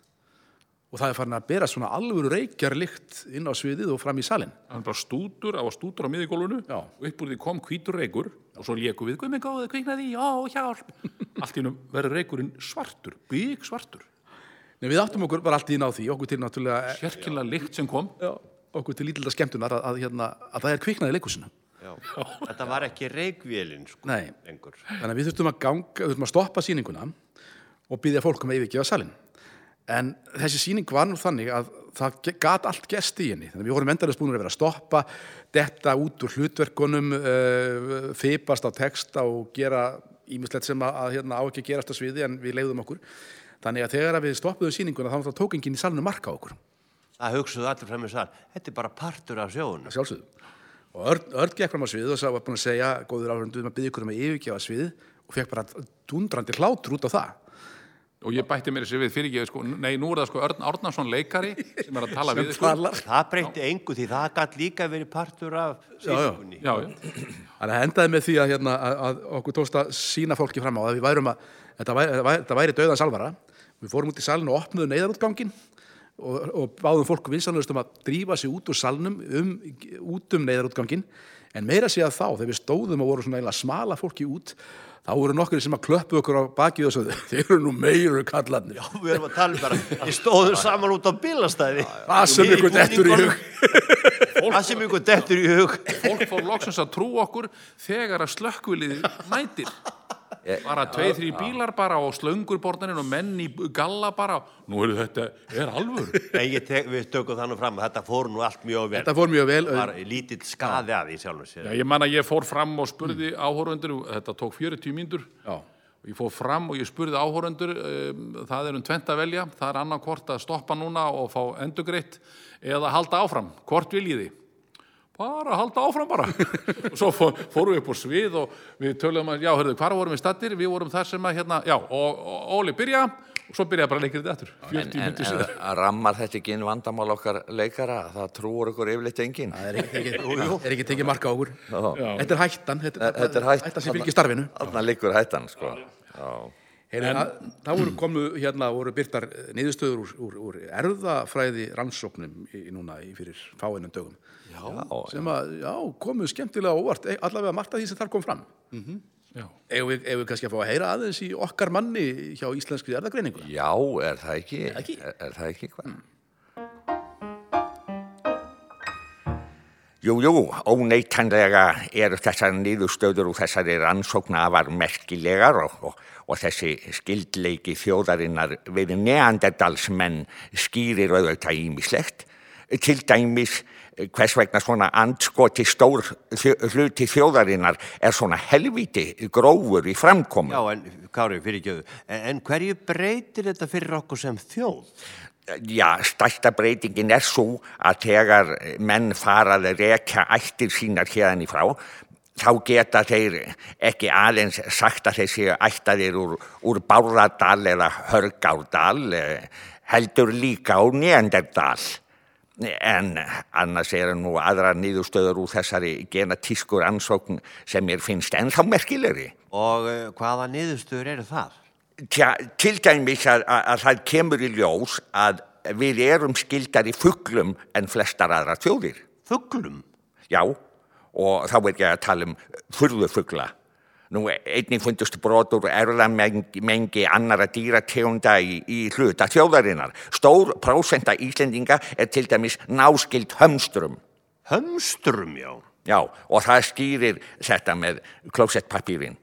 [SPEAKER 1] og það er farin að bera svona alvöru reykjarlykt inn á sviðið og fram í salin
[SPEAKER 5] hann bara stútur, það var stútur á miðugólfinu
[SPEAKER 1] Já.
[SPEAKER 5] og upp úr því kom hvítur reykur og svo léku við, guð minn góður, kviknaði, já, hjálp allt í hennum verður reykurinn svartur bygg svartur,
[SPEAKER 1] Nei, við áttum okkur bara allt í ná því, okkur til náttúrulega
[SPEAKER 5] sérkilega lykt sem kom
[SPEAKER 1] Já, okkur til lítilda skemmtunar að, að, hérna, að það er kviknað í leikusinu.
[SPEAKER 3] já. Þetta var ekki reikvélin sko
[SPEAKER 1] Nei.
[SPEAKER 3] lengur.
[SPEAKER 1] Þannig að við þurftum að, ganga, þurftum að stoppa sýninguna og byggja fólkum að yfirgefa salin. En þessi sýning var nú þannig að það ge- gat allt gest í henni. Þannig að við vorum endarins búin að vera að stoppa, detta út úr hlutverkunum, uh, fipast á texta og gera ímislegt sem að, að hérna, á ekki að gerast á sviði en við leiðum okkur. Þannig að þegar að við stoppuðum sýninguna þá náttúrulega tók enginn í salinu marka á okkur.
[SPEAKER 3] Það hugsuðu allir fram í sann. Þetta er bara partur af sjónu.
[SPEAKER 1] að sjálfsögðu. Og Örn, Örn gekk fram á sviðið og sá, var búin að segja, góður áhörundu, maður byrði ykkur um að yfirgefa sviðið og fekk bara dundrandi hlátur út á það.
[SPEAKER 5] og ég bætti mér þessi við fyrirgefið, sko, nei, nú er það sko Örn Árnason leikari sem er að tala við sko.
[SPEAKER 1] Talar.
[SPEAKER 3] Það breytti engu því það gætt líka verið partur af
[SPEAKER 1] já.
[SPEAKER 3] sískunni.
[SPEAKER 5] já, já,
[SPEAKER 1] Þannig að endaði með því að, hérna, að, að okkur tókst að sína fólki fram á að við værum að, þetta væri, þetta væri, þetta væri döðans alvara. Við fórum út í salin og opnuðum neyðarútgangin og, og báðum fólku vinsanlegust um að drífa sig út úr salnum, um, út um neyðarútgangin. En meira sé að þá, þegar við stóðum og vorum svona eiginlega að smala fólki út, þá voru nokkur sem að klöppu okkur á bakið og svo, þeir eru nú meiru kallarnir. Já,
[SPEAKER 3] Við erum að tala um bara, við stóðum saman út á bílastæði.
[SPEAKER 1] Það sem ykkur dettur í hug.
[SPEAKER 3] Það sem ykkur dettur í hug.
[SPEAKER 5] fólk fór loksins að trú okkur þegar að slökkvilið mætir
[SPEAKER 2] Ég-
[SPEAKER 5] bara tveið, þrý bílar bara og slöngurborðaninn og menn í galla bara nú er þetta, er alvöru
[SPEAKER 3] Nei, ég tek, við tökum þannig fram að þetta fór nú allt mjög vel.
[SPEAKER 1] Þetta fór mjög vel.
[SPEAKER 3] var lítill skaði að því sjálfum sér.
[SPEAKER 5] Já, ég man að ég fór fram og spurði áhorfundur, þetta tók 40 mínútur
[SPEAKER 1] Já.
[SPEAKER 5] og ég fór fram og ég spurði áhorfundur um, það er um tvent að velja það er annarkvort að stoppa núna og fá endugreitt eða halda áfram, hvort viljið þið? bara halda áfram bara og svo fó, fórum við upp á svið og við töluðum að, já, hörðu, hvar vorum við stattir við vorum þar sem að, hérna, já, og, og Óli byrja og svo byrjaði bara leikrið aftur 40
[SPEAKER 2] En, en,
[SPEAKER 5] mínútur
[SPEAKER 2] en
[SPEAKER 5] síðar.
[SPEAKER 2] rammar þetta ekki inn vandamál okkar leikara, það trúur okkur yfirleitt enginn.
[SPEAKER 1] Það er ekki, ekki, er ekki tekið marka á okkur.
[SPEAKER 2] Já.
[SPEAKER 1] Þetta er hættan. Þetta,
[SPEAKER 2] Þetta er hætt.
[SPEAKER 1] hættan sem fylgir starfinu.
[SPEAKER 2] Þarna liggur hættan, sko. Já.
[SPEAKER 1] Heyri, en, þá voru komu hérna, voru byrtar niðurstöður úr, úr, úr erðafræði rannsóknum í, í núna í fyrir fáinnum dögum. Já, sem að, já, komu skemmtilega á óvart, e- allavega margt af því sem þar kom fram. Mhm.
[SPEAKER 5] Já.
[SPEAKER 1] Ef við, ef við kannski að fá að heyra aðeins í okkar manni hjá íslenskri erðagreiningu.
[SPEAKER 2] Já, er það ekki?
[SPEAKER 1] ekki?
[SPEAKER 2] Er, er það ekki hvað? Jú, jú, óneitanlega eru þessar niðurstöður og þessari rannsóknafar merkilegar og, og, og þessi skildleiki þjóðarinnar við neanderdalsmenn skýrir auðvitað ímislegt. Til dæmis eh, hvers vegna svona andskoti stór þjó- hluti þjóðarinnar er svona helviti grófur í framkomu.
[SPEAKER 3] Já, en Kári, fyrirgjöðu, en, en hverju breytir þetta fyrir okkur sem þjóð?
[SPEAKER 2] Já, stærsta breytingin er svo að þegar menn faraði rekja ættir sínar hérðan í frá, þá geta þeir ekki aðeins sagt að þeir séu ættaðir úr, úr Bárðardal eða Hörgárdal eh, heldur líka úr Nýjandardal. En annars eru nú aðra nýðustöður úr þessari genatískur ansókn sem mér finnst ennþá merkilegri.
[SPEAKER 3] Og uh, hvaða niðurstöður eru það?
[SPEAKER 2] Tja, til dæmis að, að, að það kemur í ljós að við erum skildar í fuglum en flestar aðra þjóðir.
[SPEAKER 3] Fuglum?
[SPEAKER 2] Já, og þá er ég að tala um furðufugla. Nú, einnig fundust brotur erðamengi mengi annara dýrategunda í, í hluta þjóðarinnar. Stór prósenta Íslendinga er til dæmis náskild hömstrum.
[SPEAKER 3] Hömstrum, já.
[SPEAKER 2] Já, og það skýrir þetta með klósettpapírin.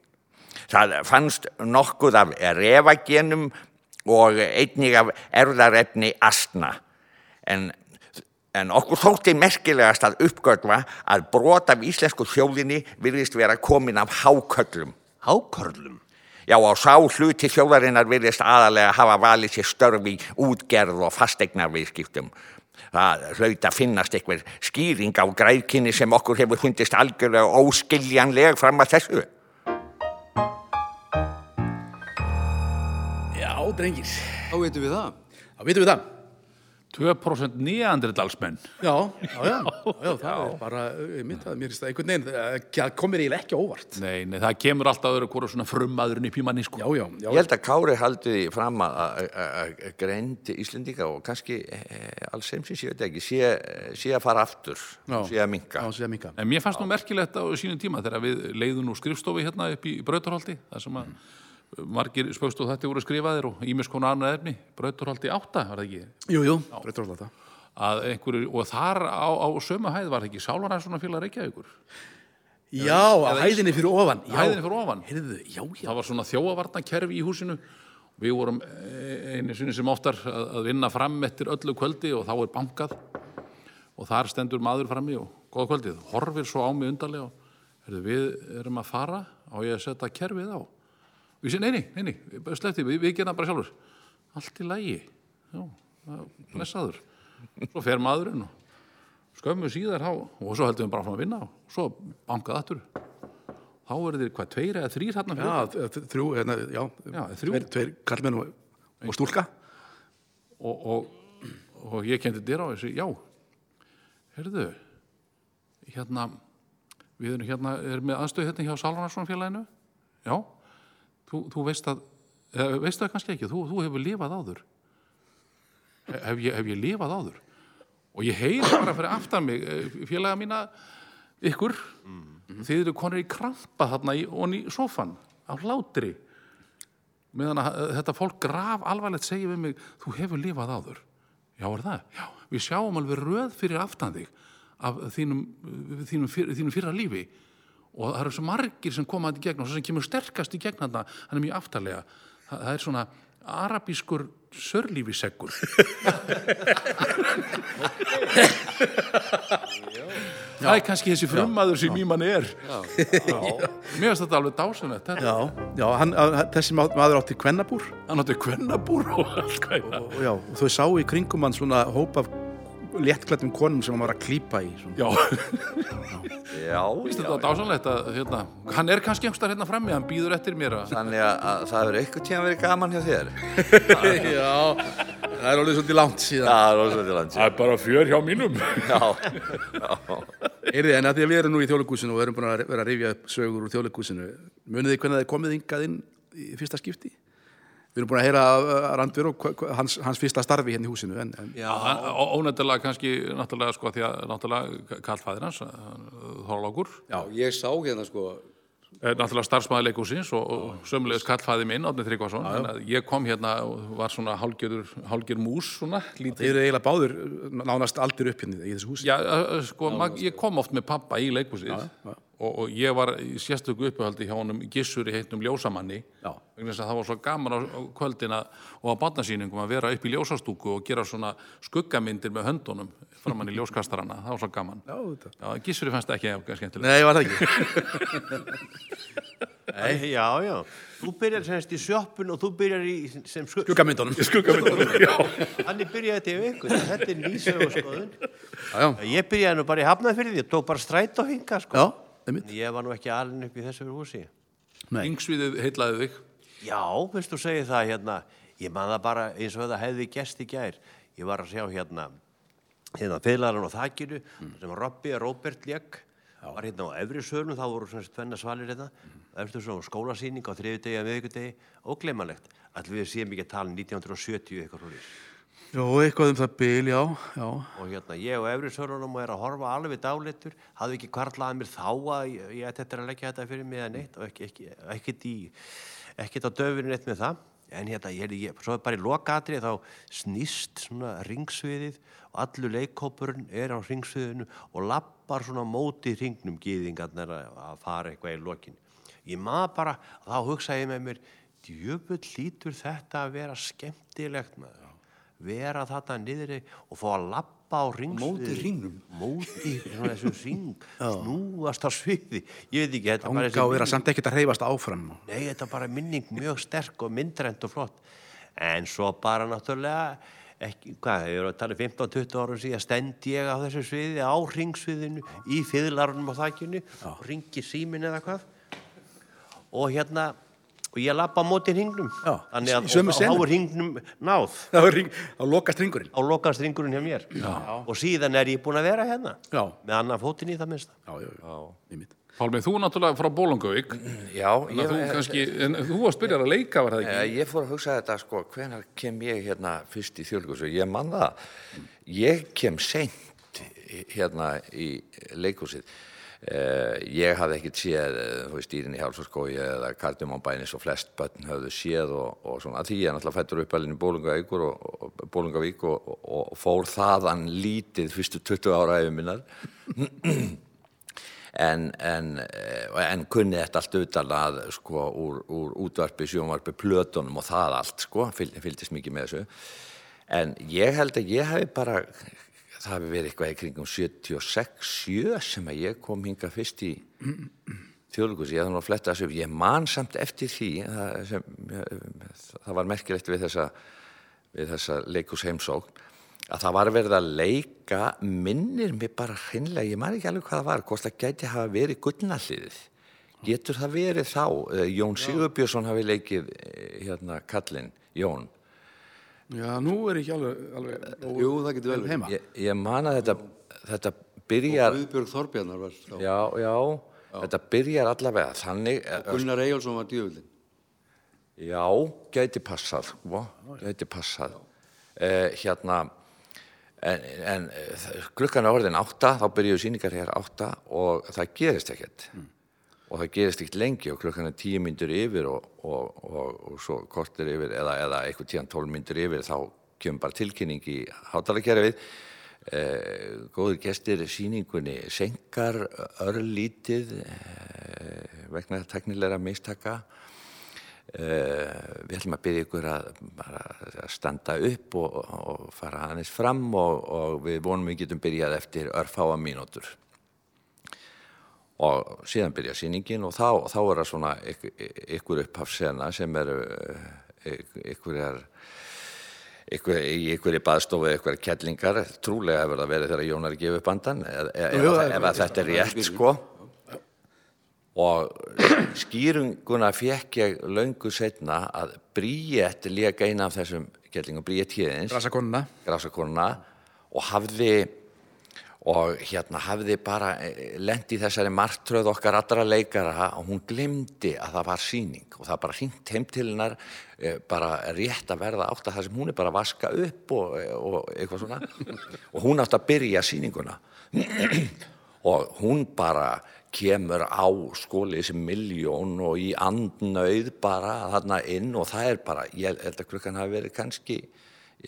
[SPEAKER 2] Það fannst nokkuð af refagenum og einnig af erðarefni astna. En, en okkur þótti merkilegast að uppgötva að brot af íslensku þjóðinni virðist vera komin af háköllum.
[SPEAKER 3] Hákörlum?
[SPEAKER 2] Já, og sá hluti þjóðarinnar virðist aðalega hafa valið sér störf í útgerð og fastegnarviðskiptum. Það hlaut að finnast einhver skýring á græðkynni sem okkur hefur hundist algjörlega óskiljanleg fram að þessu.
[SPEAKER 1] Já, drengir.
[SPEAKER 4] Þá veitum við það.
[SPEAKER 1] Þá vitum við það.
[SPEAKER 5] 2% nýjandridalsmenn.
[SPEAKER 1] Já, já, já. já, já það er bara, ég myndi að mér finnst það einhvern veginn, eh, það komir eiginlega ekki á óvart.
[SPEAKER 5] Nei, nei, það kemur alltaf öðru hvora svona frumadurinn upp í manni, sko.
[SPEAKER 1] Já, já, já.
[SPEAKER 2] Ég held að Kári haldi því fram að- að að- að greind Íslendinga og kannski eh, alls heimsins, ég veit ekki, sé, sé að fara aftur, sé að minka.
[SPEAKER 1] Já, sé að minka.
[SPEAKER 5] En mér fannst nú merkilegt á sínum tíma þegar við leiðum nú skrifstofi hérna upp í Brautarholti, þar sem að margir spöxt og þetta voru skrifaðir og ímis konar annað efni, Brautarholti 8, var það ekki?
[SPEAKER 1] Jú, jú, breytur alltaf það.
[SPEAKER 5] Að einhverju, og þar á, á sömu hæð var það ekki sálarannsóna félag Reykjavíkur.
[SPEAKER 1] Já, að hæðinni fyrir ofan. Já.
[SPEAKER 5] Hæðinni fyrir ofan.
[SPEAKER 1] Heyrðu, já, já.
[SPEAKER 5] Það var svona þjóavarnakerfi í húsinu. Við vorum eh, einu sinni sem oftar að að vinna fram eftir öllu kvöldi og þá er bankað og þar stendur maður frammi og góða kvöldið, horfir svo á mig undarlega og heyrðu, við erum að fara og ég að setja kerfið á. Við séum, neini, neini, sleppti, við, við gerum það bara sjálfur. Allt í lægi, já, það- blessaður. Svo fer maðurinn og skömmu síðar há og svo heldum við bara áfram að vinna og svo bankað aftur. Þá eru þeir hvað, tveir eða þrýr hérna
[SPEAKER 1] Já, þ- þ- þrjú, hérna, já.
[SPEAKER 5] Já, þrjú.
[SPEAKER 1] Tveir, tveir kallmenn og, og stúlka.
[SPEAKER 5] og, og, og ég kendi dyr á þessu, já, heyrðu, hérna, við erum hérna, erum með aðstöð hérna hjá Salvarsson félaginu, já, þú, þú veist að, eða, veist það kannski ekki, þú, þú hefur lifað áður, hef ég, hef ég lifað áður og ég heyri bara fyrir aftan mig, eh, félaga mína, ykkur, þið eru konur í krampa þarna í, onni í sofan, á hlátri, meðan að eh, þetta fólk graf alvarlegt segir við mig, þú hefur lifað áður já er það, já, við sjáum alveg röð fyrir aftan þig af þínum, eh, þínum, fyr, þínum fyrra lífi og það eru svo margir sem koma þetta í gegn og svo sem kemur sterkast í gegn þarna, hann er mjög aftarlega Þa, það er svona arabískur sörlífiseggur það er kannski þessi frumaður sem í mann er já. mér finnst þetta alveg dásunett þetta
[SPEAKER 1] Já, já, hann, hann- þessi ma- maður átti kvennabúr.
[SPEAKER 5] hann átti kvennabúr og allt hvað er það
[SPEAKER 1] Og já, og þau sáu í kringum hann svona hóp af léttklættum konum sem hann var að klípa í. Svona.
[SPEAKER 5] Já,
[SPEAKER 2] Já,
[SPEAKER 5] finnst
[SPEAKER 2] já,
[SPEAKER 5] þetta dásanlegt að hérna, hann er kannski einhverstað hérna frammi, hann býður eftir mér að
[SPEAKER 2] þannig að, að það hefur eitthvað tíma verið gaman hjá þér.
[SPEAKER 1] Já, það er alveg svolítið langt síðan.
[SPEAKER 2] Já, rosalega langt.
[SPEAKER 5] er bara fjör hjá mínum.
[SPEAKER 2] Já,
[SPEAKER 1] Heyrði, en að því að við erum nú í þjóðleikúsinu og erum búin að vera að rifja upp sögur úr þjóðleikúsinu, munið þið hvernig þið komið yngað inn í fyrsta skipti? Við erum búin að heyra af, uh, Randver og hva- hva- hans, hans fyrsta starfi hérna í húsinu, en, en
[SPEAKER 5] Já, hann- ó- ónættilega kannski, náttúrulega sko, því að náttúrulega kallfæðir hans, Þorlákur,
[SPEAKER 4] Og ég sá hérna sko,
[SPEAKER 5] er náttúrulega starfsmæði leikusins og, og sömulegis kallfæði minn, Átni Tryggvason, þannig að ég kom hérna og var svona hálgjör, hálgjör mús svona,
[SPEAKER 1] þið
[SPEAKER 5] lítið.
[SPEAKER 1] eru eiginlega báður uh, nánast aldur upp hérna í þessu húsi.
[SPEAKER 5] Já, ö, ö, sko, mag, ég kom oft með pappa í leikusins Og, og ég var í sérstöku uppöhaldi hjá honum Gissur í heitnum ljósamanni
[SPEAKER 1] Já.
[SPEAKER 5] vegna þess að það var svo gaman á, á kvöldina og á barnasýningum að vera upp í ljósastúku og gera svona skuggamyndir með höndunum framann í ljóskastarana, það var svo gaman
[SPEAKER 1] Já, þetta.
[SPEAKER 5] Já, Gissuri fannst það ekki eitthvað skemmtilega
[SPEAKER 1] Nei, var það ekki.
[SPEAKER 3] Nei. Já, já. Þú byrjar semst í sjoppun og þú byrjar í sem sku...
[SPEAKER 1] Skuggamyndunum. Skuggamyndunum, já.
[SPEAKER 3] Þannig byrjaði þetta yfir einhvern. Þetta er nýsögu skoðun.
[SPEAKER 1] Já, já.
[SPEAKER 3] Ég byrjaði nú bara í hafnafyrði. Ég tók bara stræt og hinga, sko.
[SPEAKER 1] Já, einmitt.
[SPEAKER 3] Ég var nú ekki alin upp í þessu húsi.
[SPEAKER 1] Nei.
[SPEAKER 5] Yngsviðið heillaði þig.
[SPEAKER 3] Já, veist þú segir það hérna, ég man það bara eins og það hefði gest í gær. Ég var að sjá hérna, hérna fyrirlarinn á þakinu, sem Robby og Robert Ljegg, var hérna á efri sölum, þá voru svona tvenna svalir hérna, eftir svona skólasýning á þriðudegi að miðvikudegi, óglemanlegt. Allir við séum ekki að tala um 1970 eitthvað svona.
[SPEAKER 1] Jó, eitthvað um það bil, já, já.
[SPEAKER 3] Og hérna, ég og efri sölunum er að horfa alveg dálitur, hafði ekki kvarlaði mér þá að ég, ég ætti eftir að leggja þetta fyrir mig eða neitt og ekki, ekki, ekkit, í, ekkit á döfurinn neitt með það. En hérna, ég, heyrði- ég, svo bara í lokatrið þá snýst svona ringsviðið og allur leikkópurinn er á ringsviðinu og lappar svona á móti ringnum gýðingarnar að að fara eitthvað í lokin. Ég maður bara, þá hugsaði ég með mér, djöfull lítur þetta að vera skemmtilegt maður vera þarna niðri og fá að lappa á ringsviði.
[SPEAKER 4] móti hringnum?
[SPEAKER 3] Móti svona þessum ring, snúast á sviði. Ég veit ekki, þetta er bara
[SPEAKER 1] Ánga
[SPEAKER 3] þessi-
[SPEAKER 1] og vera samt ekkert að hreyfast áfram.
[SPEAKER 3] Nei, þetta er bara minning mjög sterk og myndrænt og flott. En svo bara náttúrulega, ekki, hvað, ég er að tala um 15-20 árum síðan, stend ég á þessu sviði, á ringsviðinu, í fyrirlarunum á þakkinu, og ringi símin eða hvað. Og hérna, og ég lappa á móti hringnum.
[SPEAKER 1] Já,
[SPEAKER 3] Þannig
[SPEAKER 1] í
[SPEAKER 3] að,
[SPEAKER 1] sömu
[SPEAKER 3] og
[SPEAKER 1] senu.
[SPEAKER 3] þá er hringnum náð
[SPEAKER 1] Þá er hring- þá lokast ringurinn.
[SPEAKER 3] á lokast ringurinn hjá mér Já. og síðan er ég búinn að vera hérna
[SPEAKER 1] Já.
[SPEAKER 3] með annan fótinn í það minnsta
[SPEAKER 1] Já, já, já. Einmitt.
[SPEAKER 5] Pálmi, þú náttúrulega frá Bólungavík,
[SPEAKER 2] Já,
[SPEAKER 5] þannig að þú kannski, en þú varst byrjar að leika, var það
[SPEAKER 2] Eh,
[SPEAKER 5] ekki?
[SPEAKER 2] Ég fór að hugsa þetta sko, hvenær kem ég hérna fyrst í þjóðleikus ég man það, ég kem seint hérna í leikusið. Uh, ég hafði ekkert séð, eh, þú veist, dýrin í Hálsaskói eða kardum á bæni svo flest bönn höfðu séð og, og svona, Af því ég er náttúrulega fættur uppalinn í Bólungavík og, og, Bólungavík og, og, og fór þaðan lítið fyrstu 20 ára efum minnar en, en, eh, en kunni þetta allt utan að sko, úr, úr útvarpi, sjónvarpi, plötunum og það allt, sko, fylg, fylgdist mikið með þessu. En ég held að ég hefði bara, það hefði verið eitthvað í kringum 76-7 sem að ég kom hinga fyrst í þjóðlugus, ég þannig að fletta þessu upp, ég man samt eftir því, það, sem, það var merkilegt við þessa, við þessa leikus heimsókn, að það var verið að leika, minnir mig bara hreinlega, ég man ekki alveg hvað það var, hvort það gæti hafa verið gullnalliðið. Getur það verið þá? Eh, Jón Sigurbjörnsson hafi leikið eh, hérna kallinn, Jón.
[SPEAKER 1] Já, nú er ekki alveg... alveg
[SPEAKER 4] Jú, það getur vel verið.
[SPEAKER 1] Heima.
[SPEAKER 2] Ég, ég man að þetta, þetta byrjar,
[SPEAKER 4] Guðbjörg Þorbjarnar var þá.
[SPEAKER 2] já, já, þetta byrjar allavega þannig, eh,
[SPEAKER 4] Gunnar Eyjálsson var djöfullin.
[SPEAKER 2] Já, gæti passað, sko, gæti passað. Uh, hérna, en, en eh, það- klukkan er orðin átta, þá byrjuðu síningar hér átta og það gerist ekkert. Og það gerist ekkert lengi og klukkan er tíu myndur yfir og, og, og, og svo kortir yfir eða, eða eitthvað tíðan tólf myndur yfir þá kemur bara tilkynning í hátalakerfið. Uh, góður gestir síningunni senkar örlítið uh, vegna teknilegra mistaka Eh, við ætlum að byrja ykkur að, bara, að standa upp og, og fara aðeins fram og, og við vonum við getum byrjað eftir örfáa mínútur og síðan byrja sýningin og þá, þá er það svona yk, ykkur upphafsena sem eru yk, ykkur er ykkur, í ykkur í baðstofu ykkur kettlingar, trúlega hefur það verið þegar Jón er að gefa upp andan ef, ef, ef, ef, ef að þetta er rétt sko og skýrunguna fekk ég löngu setna að Bríett lék eina af þessum kellingum, Bríett Híðins
[SPEAKER 1] Rasakonuna.
[SPEAKER 2] grásakonuna og hafði og hérna hafði bara lendi í þessari martröð okkar allra leikara og hún glimdi að það var sýning og það bara hringt heim til hennar eh, bara rétt að verða átt að það sem hún er bara að vaska upp og, e, og eitthvað svona og hún átt að byrja sýninguna og hún bara kemur á skóli þessi miljón og í andnauð bara þarna inn og það er bara, ég held að klukkan hafi verið kannski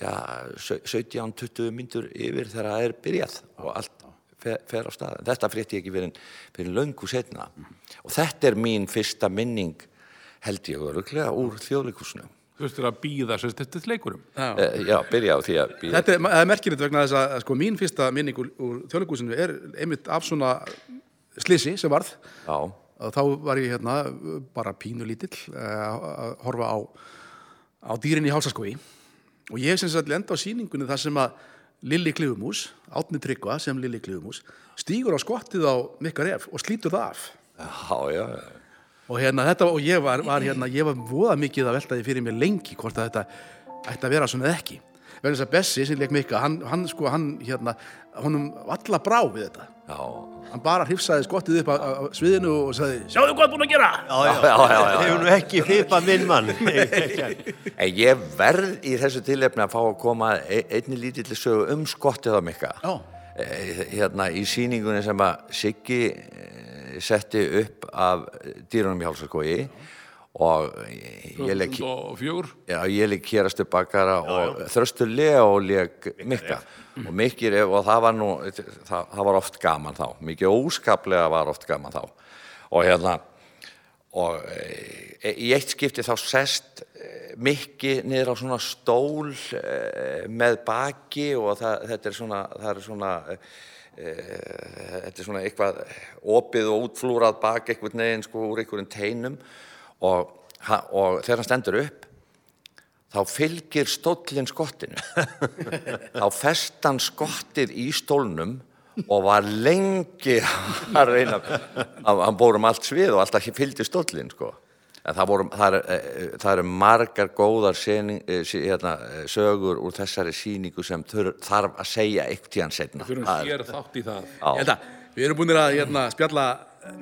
[SPEAKER 2] já, sau- 17-20 myndur yfir þegar það er byrjað og allt fer, fer á stað. Þetta frétti ég ekki fyrir, fyrir löngu setna og þetta er mín fyrsta minning held ég öruglega úr þjóðleikusinu.
[SPEAKER 5] Þú veist að býða sérst eftir leikurum.
[SPEAKER 2] Eh, já, byrja á því að byrja.
[SPEAKER 1] Þetta er, það er merkilegt vegna þess að sko, mín fyrsta minning úr, úr þjóðleikúsinu er einmitt af svona slisi sem varð
[SPEAKER 2] Já,
[SPEAKER 1] að þá var ég hérna bara pínu lítill eh, að horfa á, á dýrin í hálsaskói og ég hef sem sagt lenda á sýningunni þar sem að Lilli Klifumús, Átni Tryggva sem Lilli Klifumús, stígur á skottið á Mikka Ref og slítur það af.
[SPEAKER 2] Já, já, já.
[SPEAKER 1] Og hérna þetta, og ég var, var hérna, ég var voða mikið að velta því fyrir mér lengi hvort að þetta ætti að vera svona eða ekki. Verður þess að Bessi sem leik Mikka, hann, hann sko, hann hérna, honum alla brá við þetta.
[SPEAKER 2] Já,
[SPEAKER 1] Hann bara hrifsaði skottið upp á, á á sviðinu og sagði, sjáðu hvað er búin að gera?
[SPEAKER 2] já, já, já, já.
[SPEAKER 3] Hefur nú ekki hrifað minn mann. Nei, ekki.
[SPEAKER 2] En ég verð í þessu tilefni að fá að koma að e- einni lítilli sögu um skottið á mikka.
[SPEAKER 1] Já.
[SPEAKER 2] Eh, Hérna í sýningunni sem að Siggi eh, setti upp af dýrunum í hálsarkogi og ég leik,
[SPEAKER 5] 2004
[SPEAKER 2] já, ég leik hérastu bakara og þröstu Leo leik mikka. Og mikki ref og það var nú, það, það var oft gaman þá, mikið óskaplega var oft gaman þá. Og hérna, og e, í eitt skipti þá sest e, Mikki niður á svona stól e, með baki og það, þetta er svona, það er svona e, þetta er svona eitthvað opið og útflúrað bak eitthvað neginn sko úr einhverjum teinum og, ha, og þegar hann stendur upp þá fylgir stólinn skottinu þá fest hann skottið í stólnum og var lengi að reyna að hann bórum allt svið og alltaf fylgdi stólinn sko en það, voru, það, er, eh, það eru margar góðar sening, eh, sí- hérna, eh, sögur úr þessari síningu sem þur, þarf að segja eitt tíðan setna
[SPEAKER 5] fyrir hún sér þátt í það
[SPEAKER 1] Ég held að við erum búin að hérna, spjalla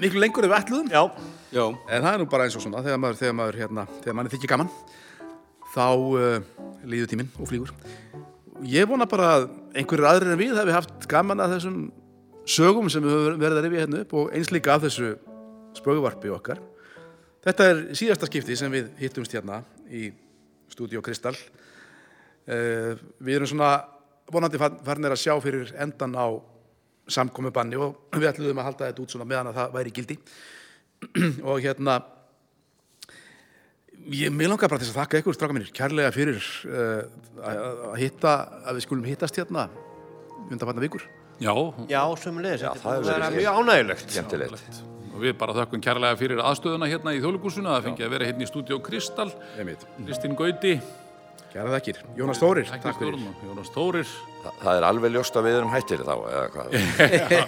[SPEAKER 1] miklu lengur ef við ætluðum.
[SPEAKER 3] Já,
[SPEAKER 4] Já,
[SPEAKER 1] En það er nú bara eins og svona, þegar maður, þegar maður, hérna, þegar manni þykir gaman, þá uh, líður tíminn og flýgur. Ég vona bara að einhverjir aðrir en við hefði haft gaman að þessum sögum sem við höfum verið að rifja hérna upp og eins líka að þessu spöguvarpi okkar. Þetta er síðasta skipti sem við hittumst hérna í Studio Kristall. Uh, við erum svona vonandi fa- farnir að sjá fyrir endan á samkomiðbanni og við ætluðum að halda þetta út svona meðan að það væri í gildi og hérna ég mig langar bara til þess að þakka ykkur stráka mínir kærlega fyrir uh, að að hitta, að við skulum hittast hérna undanfarnar vikur
[SPEAKER 5] já,
[SPEAKER 3] já, sömulegis.
[SPEAKER 2] það hefur
[SPEAKER 3] Það er
[SPEAKER 2] verið
[SPEAKER 3] mjög ánægilegt.
[SPEAKER 2] skemmtilegt
[SPEAKER 5] og við bara þökkum kærlega fyrir aðstöðuna hérna í þjóðlugúsuna það fengi að vera hérna í stúdíó Kristall
[SPEAKER 1] Einmitt.
[SPEAKER 5] Kristín Gauti,
[SPEAKER 1] kæra þekkir, Jónas Þórir, takk fyrir
[SPEAKER 5] Læknastjórn og Jónas Tórir
[SPEAKER 2] Þa, það er alveg ljóst að við erum hættir þá eða hvað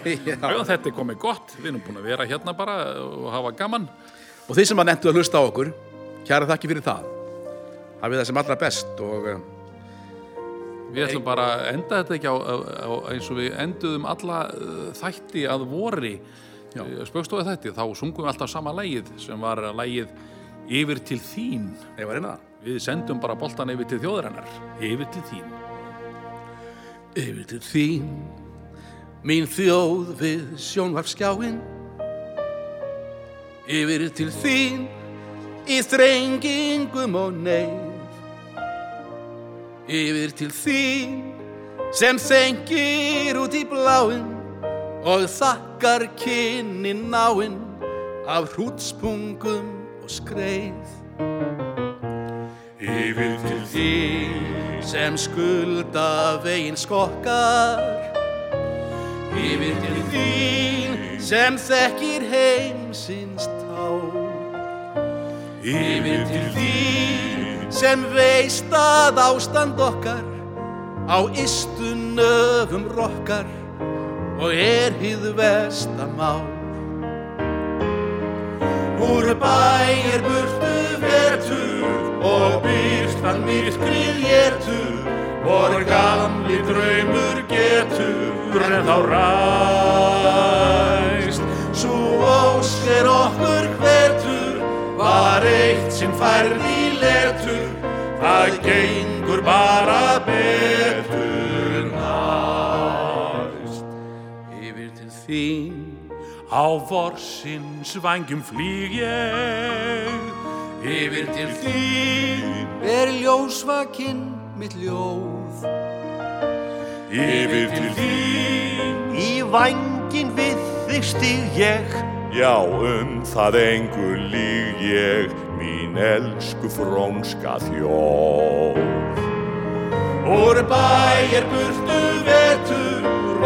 [SPEAKER 5] Já, þetta er komið gott, við erum búin að vera hérna bara og hafa gaman
[SPEAKER 1] og þeir sem að nefndu að hlusta á okkur kæra þakki fyrir það hafið það sem allra best og uh,
[SPEAKER 5] Við ætlum bara að enda þetta ekki á, á, á eins og við enduðum alla uh, þætti að vori spökstóði þætti, þá sungum við alltaf sama lægið sem var lægið Yfir til þín
[SPEAKER 1] ég var reyna það
[SPEAKER 5] Við sendum bara boltan yfir til þjóðarinnar Yfir til þín
[SPEAKER 1] Yfir til þín, mín þjóð við sjónvarpskjáin Yfir til þín, í þrengingum og neyð Yfir til þín, sem þengir út í bláin Og þakkar kynnin náin af hrútspungum og skreið Yfir til þín sem skulda veginn skokkar Yfir til þín sem þekkir heimsins tá Yfir til þín sem veist að ástand okkar Á ystu nöfum rokkar og er hið vestamál Úr bæ er burtu vetur og byrstan myrkrið getur og gamli draumur getur en þá ræst Svo ósk er okkur hvetur var eitt sem færð í letur það gengur bara betur næst Yfir til þín Á vorsins vangjum flýg ég Yfir til þín
[SPEAKER 4] er ljósvakinn mitt ljóð
[SPEAKER 6] Yfir til þín
[SPEAKER 3] Í vangin við þig stíg ég.
[SPEAKER 6] Já, um það engu líg ég Mín elsku frónska þjóð
[SPEAKER 1] Úr bæ er burtu vetur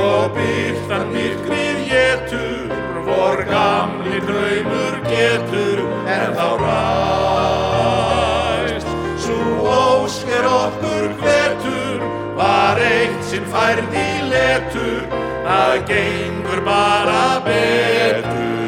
[SPEAKER 1] Og byrtan myrkrið getur Vor gamli draumur getur En þá ræst Svo ósk er okkur hvetur Var eitt sem Þjóðin færð í letur Það gengur bara betur